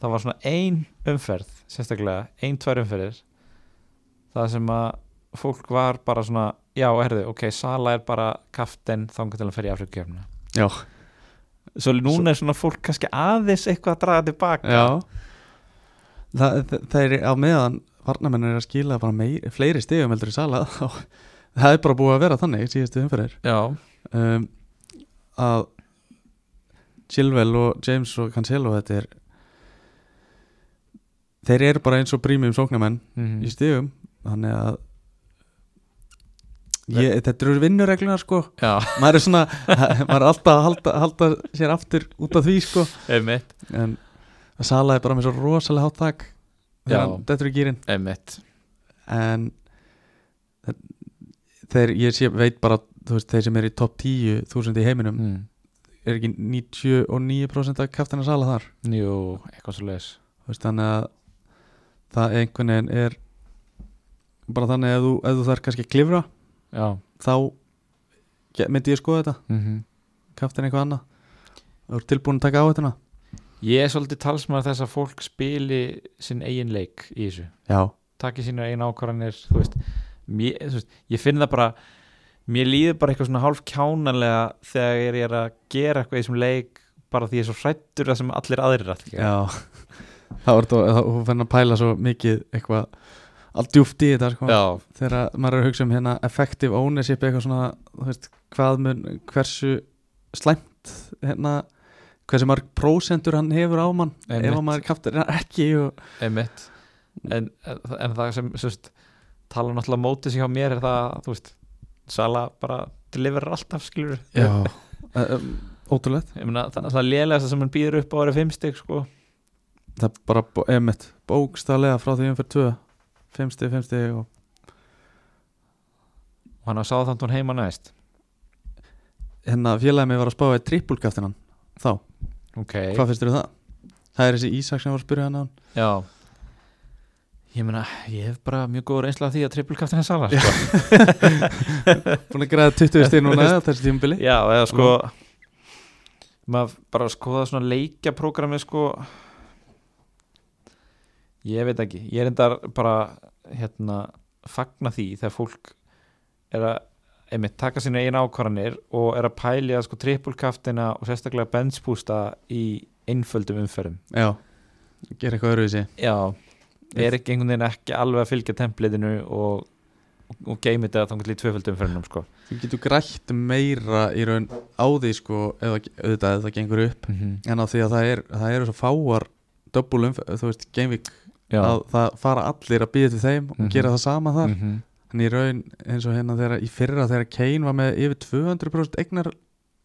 A: það var svona ein umferð sérstaklega, ein, tvær umferðir það sem að fólk var bara svona, já, herðu, ok Sala er bara kaftin þangar til að fyrir Afrikjöfna
B: Já,
A: Svo núna er svona fólk kannski aðeins eitthvað að draga tilbaka
B: Já Þa, þe- þeir á meðan varnamennir er að skila bara meir, fleiri stigum heldur í sala þá, það er bara búið að vera þannig síðustu umferðir
A: Já,
B: um, að Chilwell og James og Cancelo þetta er þeir eru bara eins og prímum sóknarmenn
A: mhm.
B: í stigum þannig að ég, þetta eru vinnuregluna sko
A: já.
B: maður er svona, maður er alltaf að halda, halda sér aftur út af því sko
A: einmitt,
B: en Sala er bara með svo rosalega hátt þak
A: Já.
B: þegar hann dettur í gýrin
A: einmitt
B: en þeir, ég sé, veit bara þú veist, þeir sem eru í topp 10.000 í heiminum
A: mm.
B: er ekki 99% af kaftina Sala þar
A: Jú, eitthvað svo leis
B: þú veist, þannig að það einhvern veginn er bara þannig að ef þú, ef þú þarf kannski að klifra
A: Já,
B: þá ge- myndi ég skoða þetta
A: mhm
B: kaftin eitthvað annað þú ert tilbúin að taka á þetta
A: Ég er svolítið talsmaður þess að fólk spili sinn eigin leik í þessu
B: já,
A: taki sínu eigin ákvarðanir þú veist, mér, þú veist, ég finn það bara mér líður bara eitthvað svona hálf kjánanlega þegar ég er að gera eitthvað í þessum leik bara því ég er svo hrættur það sem allir aðrir að
B: Já, þá er þetta hún fann að pæla svo mikið eitthvað allt djúft í þetta sko
A: Já,
B: þegar að maður er að hugsa um hérna effective ownership eitthvað svona þú veist, hvað mun, hversu slæmt hérna hversu marg prósentur hann hefur á mann
A: Einmitt.
B: ef að maður kaftir hann ekki og,
A: einmitt en, en það sem sérst, tala náttúrulega mótið sig hjá mér er það að, þú veist, Sala bara deliverar alltaf skilur
B: Já, um, ótrúlegt
A: ég meina það, það lélegasta sem hann býður upp á eru fimm stygg sko
B: það er bara, bó- einmitt, bókstaflega frá því um fyrir tvö, 50, 50 og
A: og hann á Sáðantón heima næst
B: hérna félagið mig var að spáði trippulkaftinan þá,
A: ok,
B: hvað finnst þér um það? Það er þessi Ísak sem var að spyrja hérna hann á hann
A: já ég meina, ég hef bara mjög góður einslega því að trippulkaftin er Sala sko.
B: búin að græða 20 stið núna á þessi tímubili
A: já, eða sko maður bara skoða svona leikjaprógrami sko ég veit ekki ég er endar bara hérna, fagna því þegar fólk er að einmitt, taka sína eina ákvarðanir og er að pælja sko trippulkaftina og sérstaklega benchbústa í einföldum umferðum
B: Já, gera eitthvað öruvísi
A: já, er ekki einhvern veginn ekki alveg að fylgja templitinu og, og, og geymið þetta þangar til tvöföldum umferðinum sko.
B: Þú getur grætt meira í raun á því sko eða auðvitað ef það gengur upp
A: mm -hmm.
B: en á því að það, er, það eru svo fáar döbbulum, þú veist, Gameweek að það fara allir að býða til þeim
A: Mhm.
B: og gera það sama þar
A: -hmm.
B: en í raun eins og hérna þegar í fyrra þegar Kane var með yfir 200% egnar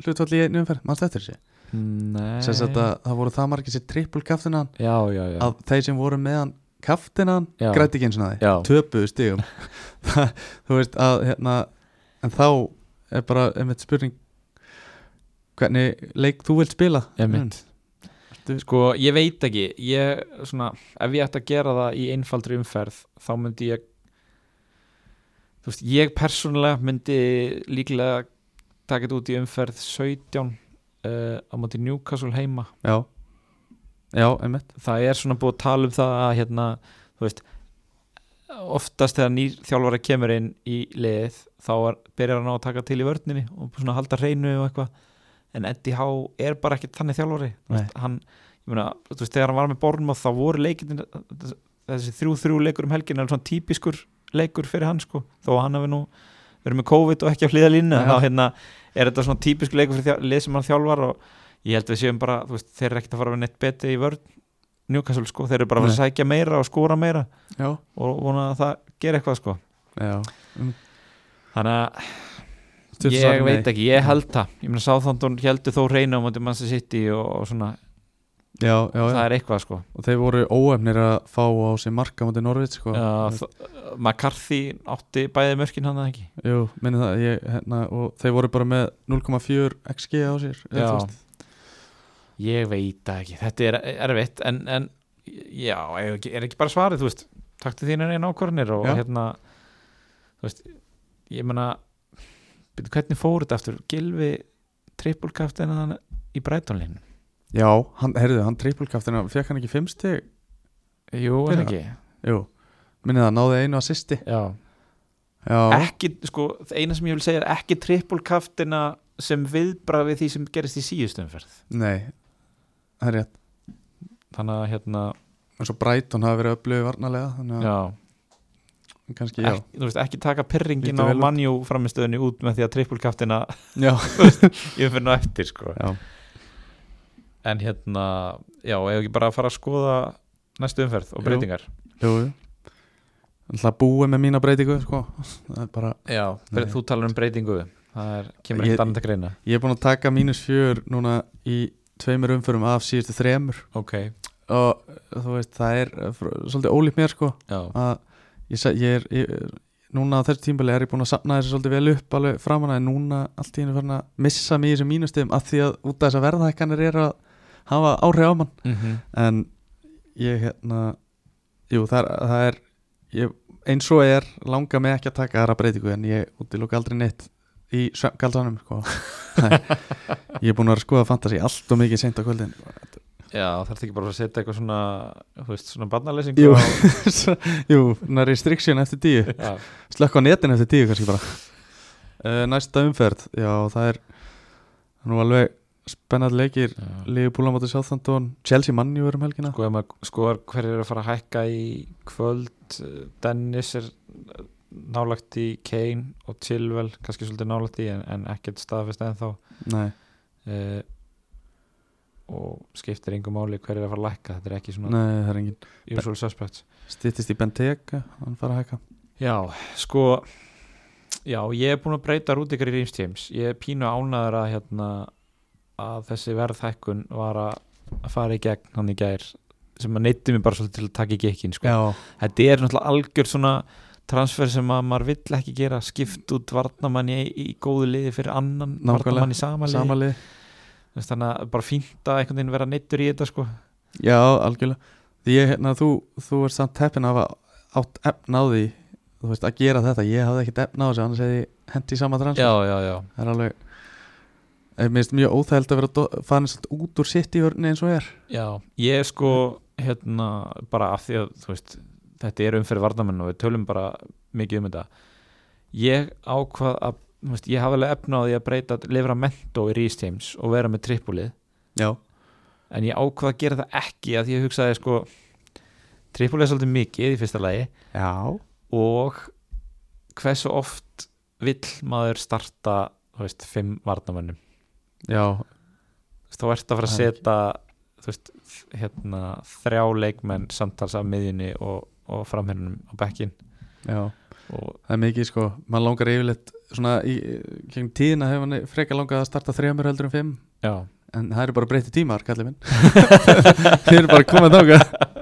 B: hlutfall í einu umferð, mannst eftir þessi
A: Nei
B: sem sagt að það voru það margir sér trippul kaftinan
A: Já, já, já
B: að þeir sem voru með hann kaftinan
A: Já.
B: græti ekki eins og það
A: Já.
B: töpuðu stigum Það- þú veist að hérna en þá er bara einmitt spurning hvernig leik þú vilt spila
A: Einmitt.
B: Mm. Ertu-
A: Sko, ég veit ekki ég, svona, Ef ég ætti að gera það í einfaldri umferð þá myndi ég þú veist, ég persónulega myndi líklega taka þetta út í umferð 17 uh, á móti Newcastle heima
B: já, já, einmitt
A: það er svona búið að tala um það að hérna, þú veist oftast þegar nýr þjálfari kemur inn í liðið þá er, byrjar hann á að taka til í vörninni og svona halda hreinu og eitthvað en Eddie Howe er bara ekkert þannig þjálfari Þú veist, hann, ég meina, þú veist, þegar hann var með Bornmoth þá voru leikin þessi þrjú þrjú leikur um helgin er svona típiskur leikur fyrir hann sko þó að hann hafi nú verið með COVID og ekki á hliða línu
B: Já.
A: þá hérna er þetta svona típiskur leikur fyrir þjá- lið sem hann þjálfar og ég held við séum bara, þú veist, þeir eru ekkert að fara með neitt betri í vörn Newcastle sko, þeir eru bara að fara að sækja meira og skóra meira
B: já,
A: og vona að það gera eitthvað sko
B: já
A: þannig að
B: Stuttu
A: ég
B: svari,
A: veit
B: nei.
A: ekki, ég held það ég meina Sáþóndun heldur þó reyna á móti Manchester City og, og svona,
B: já, já, já.
A: það er eitthvað sko
B: og þeir voru óefnir að fá á sig marka mútið Norvits sko.
A: Já, þó- McCarthy átti bæði mörkin hann eða ekki
B: Jú, minni það ég, hérna, og þeir voru bara með 0,4 XG á sér eða
A: Já.
B: þú veist.
A: ég veit það ekki, þetta er erfitt en, en já, er ekki, er ekki bara svarið þú veist, taktu þínu einn ákvörnir og
B: Já.
A: hérna þú veist, ég meina byrju, hvernig fór þetta aftur, Gilvi trippulkaftin hann í Breitónlinu
B: já, hann, heyrðu, hann trippulkaftina fekk hann ekki 5 stig
A: Jú,
B: Fyrir
A: en ekki
B: Jú, minni það, náði einu assisti
A: Já.
B: Já,
A: ekki, sko, það eina sem ég vil segja er ekki trippulkaftina sem viðbrað við því sem gerist í síðustumferð
B: nei það er rétt,
A: þannig að hérna,
B: en svo Brighton hafi verið upplöðu varnalega, þannig
A: já,
B: að kannski já,
A: Ekki, þú veist, ekki taka pyrringin
B: Lítur
A: á
B: vel út.
A: mannjú framistöðinni út með því að trippulkaftina
B: já,
A: yfirfinna eftir, sko
B: já.
A: en hérna, já, ef ekki bara að fara að skoða næstu umferð og
B: Jú.
A: breytingar
B: Jú, jú Það búið með mína breytingu sko. það er bara,
A: já,
B: Nei.
A: þú talar um breytingu það er, kemur
B: Ég-
A: ekkert annað að greina
B: ég er búin að taka mínus fjör núna í tveimur umförum af síðustu þremur
A: ok,
B: og þú veist, það er eh, fr- svolítið ólíkt mér sko
A: já,
B: að ég, sa- ég er ég, er- núna á þessu tímbali er ég búin að sapna þessu svolítið vel upp alveg framan en núna allt í henni farin að missa mig í þessum mínustum af því að út af þess að verðhækkanir er að hafa áhrif á mann
A: mm -hmm.
B: en ég hérna jú það er, það er ég, eins og er langa mig ekki að taka aðra breytingu en ég útilóka aldrei neitt í galsanum sko. ég er búin að vera að skoða fantasi allt og mikið seint á kvöldin
A: já, þarf ekki bara að setja eitthvað svona þú veist, svona barnaleysingu
B: Jú.
A: á,
B: jú, svona restriction eftir tíu
A: já,
B: slökk á netin eftir tíu kannski bara uh, næsta umferð já það er nú alveg spennandi leikir
A: já.
B: Leifupúla móti Southampton Chelsea manni verið um helgina
A: sko, ef maður skoðar hverju er að fara að hækka í kvöld eh, Dennis er eh, nálægt í Kane og Chilwell kannski svolítið nálægt í en, en ekkert staðfest ennþá
B: Nei,
A: uh, Eh, og skiptir engum máli hver er að fara að lækka þetta er ekki svona
B: Nei, það er engin
A: usual suspects
B: Stýttist í Benteke, hann fara að hækka
A: já, sko já, ég er búin að breyta rúdikar í James ég er pínu ánæður að hérna að þessi verðhækkun var að að fara í gegn hann í gær sem að neytti mig bara svolítið til að taka í gekkin sko.
B: Já,
A: þetta er náttúrulega algjör svona transfer sem að maður vill ekki gera skipt út varnamann í, í góðu liði fyrir annan
B: Nákvæmlega.
A: varnamann í sama liði
B: samanlið
A: Þú veist, þannig að bara fínt að einhvern veginn vera neittur í þetta sko.
B: Já, algjörlega Því ég, hérna, þú, þú er samt heppin af að átt efna á því þú veist, að gera þetta, ég hafði ekkert efna á þessu annars hefði ég hendi í sama transfer
A: já, já
B: Það er alveg Eh, Mér finnst mjög óþægild að vera do- farin svolítið út úr sitt í vörni eins og er
A: Já, ég er sko hérna bara af því að þú veist, þetta er umferð varnamenn og við tölum bara mikið um þetta ég ákvað að þú veist, ég hafa alveg efna á því að breyta lifra mentó í Rhys James og vera með trippulið
B: Já,
A: en ég ákvað að gera það ekki að því að hugsaði sko trippulið er svolítið mikið í fyrsta lagi
B: já,
A: og hversu oft vill maður starta þú veist, fimm varnamennum
B: já,
A: Þú veist, þá ert að fara að
B: Það er
A: setja þú veist, hérna, þrjá leikmenn samtals af miðjunni og, og framhörnum á bekkin
B: já.
A: og
B: Það er mikið sko, mann langar yfirleitt svona í, kegum tíðina hefur hann frekar langað að starta þremur heldur en fimm
A: já,
B: en það eru bara breytið tímar, kallið minn Þið eru bara komað þáka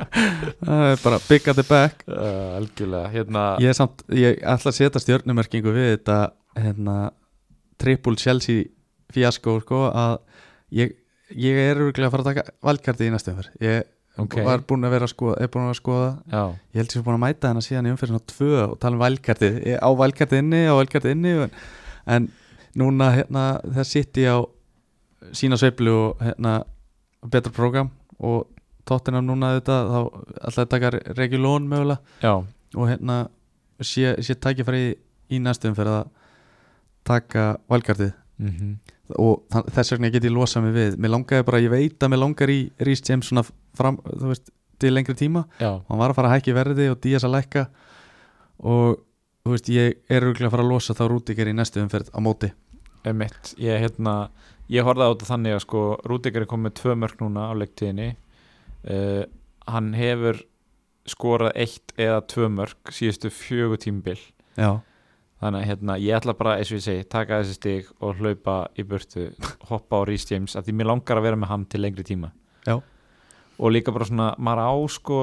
B: Það er bara big at the back
A: uh, algjörlega hérna,
B: Ég, er samt, ég ætla að setja stjörnumerkingu við þetta hérna, triple Chelsea fíasko sko, að ég, ég er örgulega að fara að taka valkarti í næstu umferð Ég
A: ok
B: var búin að vera að skoða, er búin að vera að skoða
A: já,
B: Ég held sem búin að mæta hennar síðan í umfyrir svona tvö og tala um valkartið, Ég- á valkartið inni, á valkartið inni en, en núna hérna, það sitt ég á sína sveiflu og hérna betra program og tóttina núna þetta þá alltaf taka regulón mögulega
A: já,
B: og hérna sé, sé tækifæri í, í næstum fyrir að taka valkartið
A: mm
B: Mhm. og þa- þess vegna get ég losað mig við mér langaði bara, ég veit að mér langar í Rís James svona fram, þú veist, til lengri tíma
A: já
B: hann var að fara að hækka í verði og Díaz að lækka og þú veist, ég er auðvitað að fara að losa þá Rúdíker í næstu umferð á móti
A: emitt, ég hérna ég horfði á þetta þannig að sko Rúdikar er komið með tvö mörg núna á leiktíðinni uh, hann hefur skorað eitt eða tvö mörg síðustu fjögur tímbil
B: já,
A: Þannig að hérna, ég ætla bara, eins og ég segi, taka þessi stig og hlaupa í burtu, hoppa á Rhys James, að því mér langar að vera með hann til lengri tíma.
B: Já.
A: Og líka bara svona, maður á sko,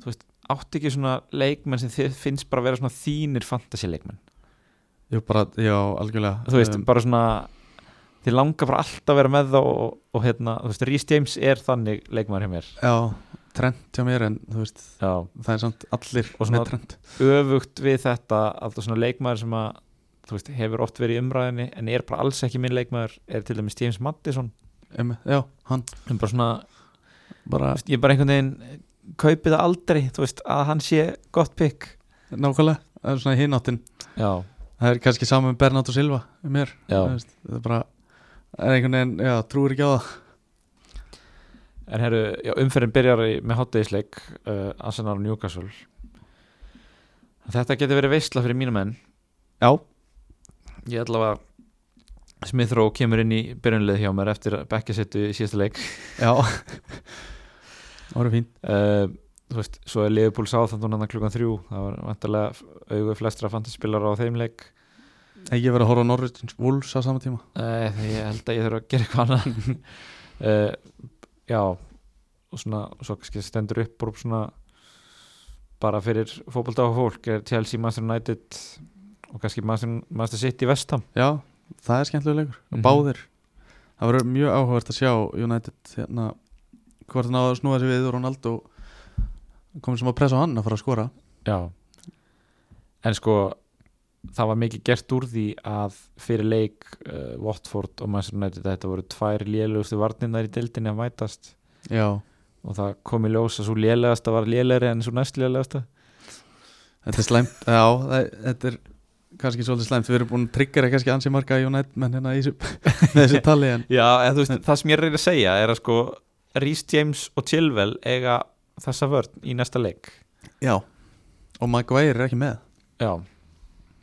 A: þú veist, átt ekki svona leikmenn sem þið finnst bara að vera svona þínir fantasy leikmenn.
B: ég bara, já, algjörlega
A: Þú veist,
B: Um,
A: bara svona, þið langar bara alltaf að vera með þá og, og hérna, þú veist, Rhys James er þannig leikmenn hjá mér.
B: já, trend hjá mér en þú veist,
A: Já.
B: það er samt allir
A: Og svona-
B: með trend
A: Öfugt við þetta, að það svona leikmenn sem að, þú veist, hefur oft verið í umræðinni en er bara alls ekki minn leikmaður er til dæmis James Madison
B: um, já, hann
A: en bara svona,
B: bara
A: þú veist, ég bara einhvern veginn kaupi það aldrei, þú veist, að hann sé gott pikk
B: nákvæmlega, það er svona í hináttin
A: já,
B: það er kannski saman með Bernardo Silva um mér,
A: Já.
B: þú veist, það er bara það er einhvern veginn, já, trúir ekki á það
A: en herru, já, umferðin byrjar í, með háttegisleik uh, Arsenal og Newcastle þetta getur verið veistla fyrir mínum enn
B: já,
A: ég ætla að Smith Rowe kemur inn í byrjunlið hjá mér eftir bekkisettu í síðasta leik
B: já það voru fín
A: uh, þú veist, svo er Liverpool sáþandun hann klukkan þrjú, það var vantarlega augu flestra fantaspillar á þeim leik
B: ekki verið að horfa á Norröldins Wolves á sama tíma
A: Nei, því ég held að ég þurfa að gera eitthvað annað uh, Já og svona, svo kannski stendur upp úr svona bara fyrir fótbolta á fólk er Chelsea, Master United og kannski Master, Master City vestam
B: Já, það er skemmtilega leikur
A: Mhm.
B: Báðir Það verður mjög áhugavert að sjá United hérna, hvort hann á að snúa sér við og Ronaldo komið sem að pressa á hann að fara að skora
A: Já En sko, það var mikið gert úr því að fyrir leik uh, Watford og Master United þetta voru tvær lélegustu varninnar í deildinni að mætast
B: Já
A: og það kom í ljós að svo lélegasta var lélegri en svo næst lélegasta
B: Þetta er slæmt Já, það, þetta er kannski svolítið slæmt Við erum búin að triggera kannski ansi marga United menn hérna í þessu með þessu tali en
A: Já, en þú veist, það sem ég er að segja er að sko Rhys James og Chilwell eiga þessa vörn í næsta leik
B: Já Og Maguire er ekki með
A: Já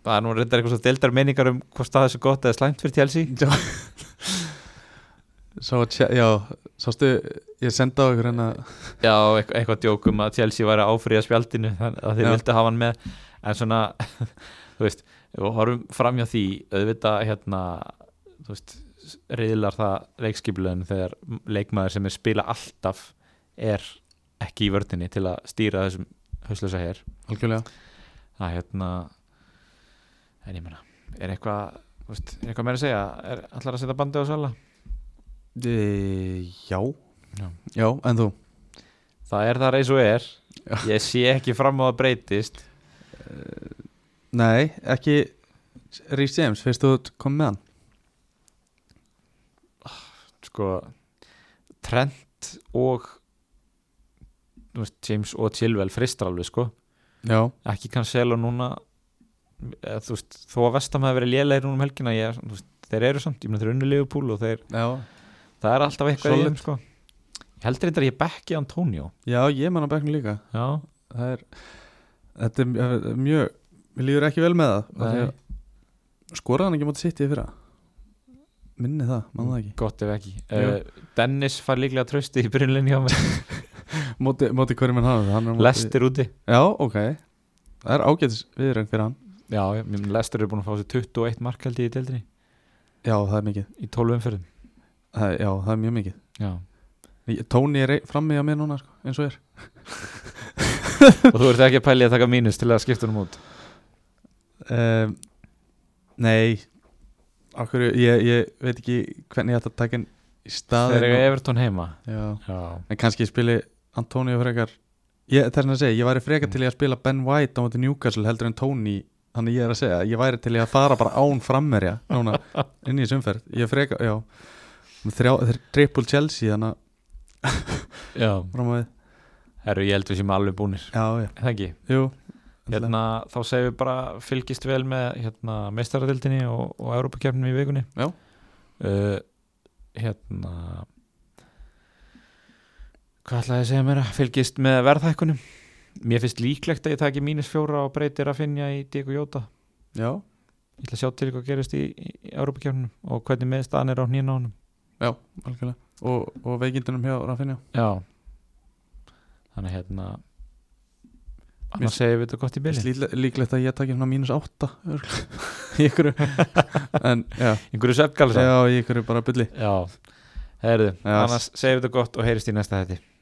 A: Það er nú reyndar eitthvað svo deildar meiningar um hvort það er svo gott eða slæmt fyrir Chelsea
B: Já Sá að, tjá- já, sástu Ég sendi á ykkur hérna
A: Já, eitthvað, eitthvað djókum að Chelsea væri að áfríja spjaldinu þannig að þeir
B: Já.
A: vildu hafa hann með en svona, þú veist ef við horfum framjá því, auðvitað hérna, þú veist reyðlar það leikskipuleginu þegar leikmaður sem er spila alltaf er ekki í vördinni til að stýra þessum hauslösa hér
B: Algjörlega
A: að hérna en ég meina, er eitthvað þú veist, er eitthvað meira að segja, er allar að setja bandi á sala?
B: e, já.
A: Já.
B: já, en þú
A: Það er það eins og er ég sé ekki fram á að breytist
B: Nei, ekki Rhys James, finnst þú að koma með hann?
A: sko Trent og þú veist, James og Chilwell fristar alveg sko,
B: Já,
A: ekki Cancelo núna eða, þú veist, þó að vestam hefur verið lélegir núna um helgina ég, þú veist, þeir eru samt, ég meina þeir eru unni Liverpool og þeir,
B: já,
A: það er alltaf eitthvað í
B: Solid.
A: þeim sko ég heldur þetta að ég bekki Antonio
B: já ég menn á bekknum líka
A: já,
B: Það er, þetta er mj- er mjög Mér líður ekki vel með það af því
A: Nei.
B: að Skoraði hann ekki mútið sitt í fyrra Minni það, mann það ekki
A: gott ef ekki uh, Dennis fær líklega trösti í byrjunlinni hjá mér
B: Mm. Móti, móti hverju menn hafa það
A: Lester úti
B: Já, ok Það er ágætis viðurinn fyrir hann
A: já, ég meina, Lester er búin að fá sér 21 markaldi í deildinni
B: Já, það er mikið
A: í 12 umferðum
B: það er, Já, það er mjög mikið
A: já.
B: Ég- Tóni er frammi á mér núna, sko, eins og er
A: og þú ert ekki að pæli að taka mínus til að skipta honum út
B: um, Nei Akkur, ég, ég veit ekki hvernig ég ætla að taka hann í
A: Þeir
B: staðin
A: eru Evertón heima
B: Já
A: Já,
B: En kannski ég spili Antonio frekar ég, Það er að segja, ég væri frekar til í að spila Ben White á móti Newcastle heldur en Tony Þannig ég er að segja, ég væri til í að fara bara án frammerja Núna, inn í þessu umferð Ég er frekar, já Með Þrjá, þeir triple Chelsea þannig að
A: já.
B: fram á við
A: Herru, ég held við séum alveg búnir
B: Já, já,
A: Er Það ekki
B: jú
A: hérna, Þá segjum við bara fylgist vel með hérna, meistaradildinni og, og Europakefnum í vikunni
B: Já.
A: uh, Hérna Hvað ætlaði ég að segja mér að fylgist með verðhækkunum Mér finnst líklegt að ég taki mínus fjóra og breytir að finja í Diego Jóta
B: Já,
A: Ég ætla að sjá til hvað gerist í, í Europakefnum og hvernig meðstaðan er á hnýna honum
B: já, algjörlega Og, og veikindunum hjá Rafinha
A: Já Þannig að hérna
B: Mér-
A: Annars segjum við þetta gott í
B: Mér
A: byrjun
B: finnst líkle- Líklegt að ég taki svona mínus átta örugglega, Í ykkur En, já,
A: Einhverju svefngalsa
B: já, í ykkur bara bulli
A: Já, heyrðu
B: Já.
A: Annars segjum við þetta gott og heyrist í næsta þetti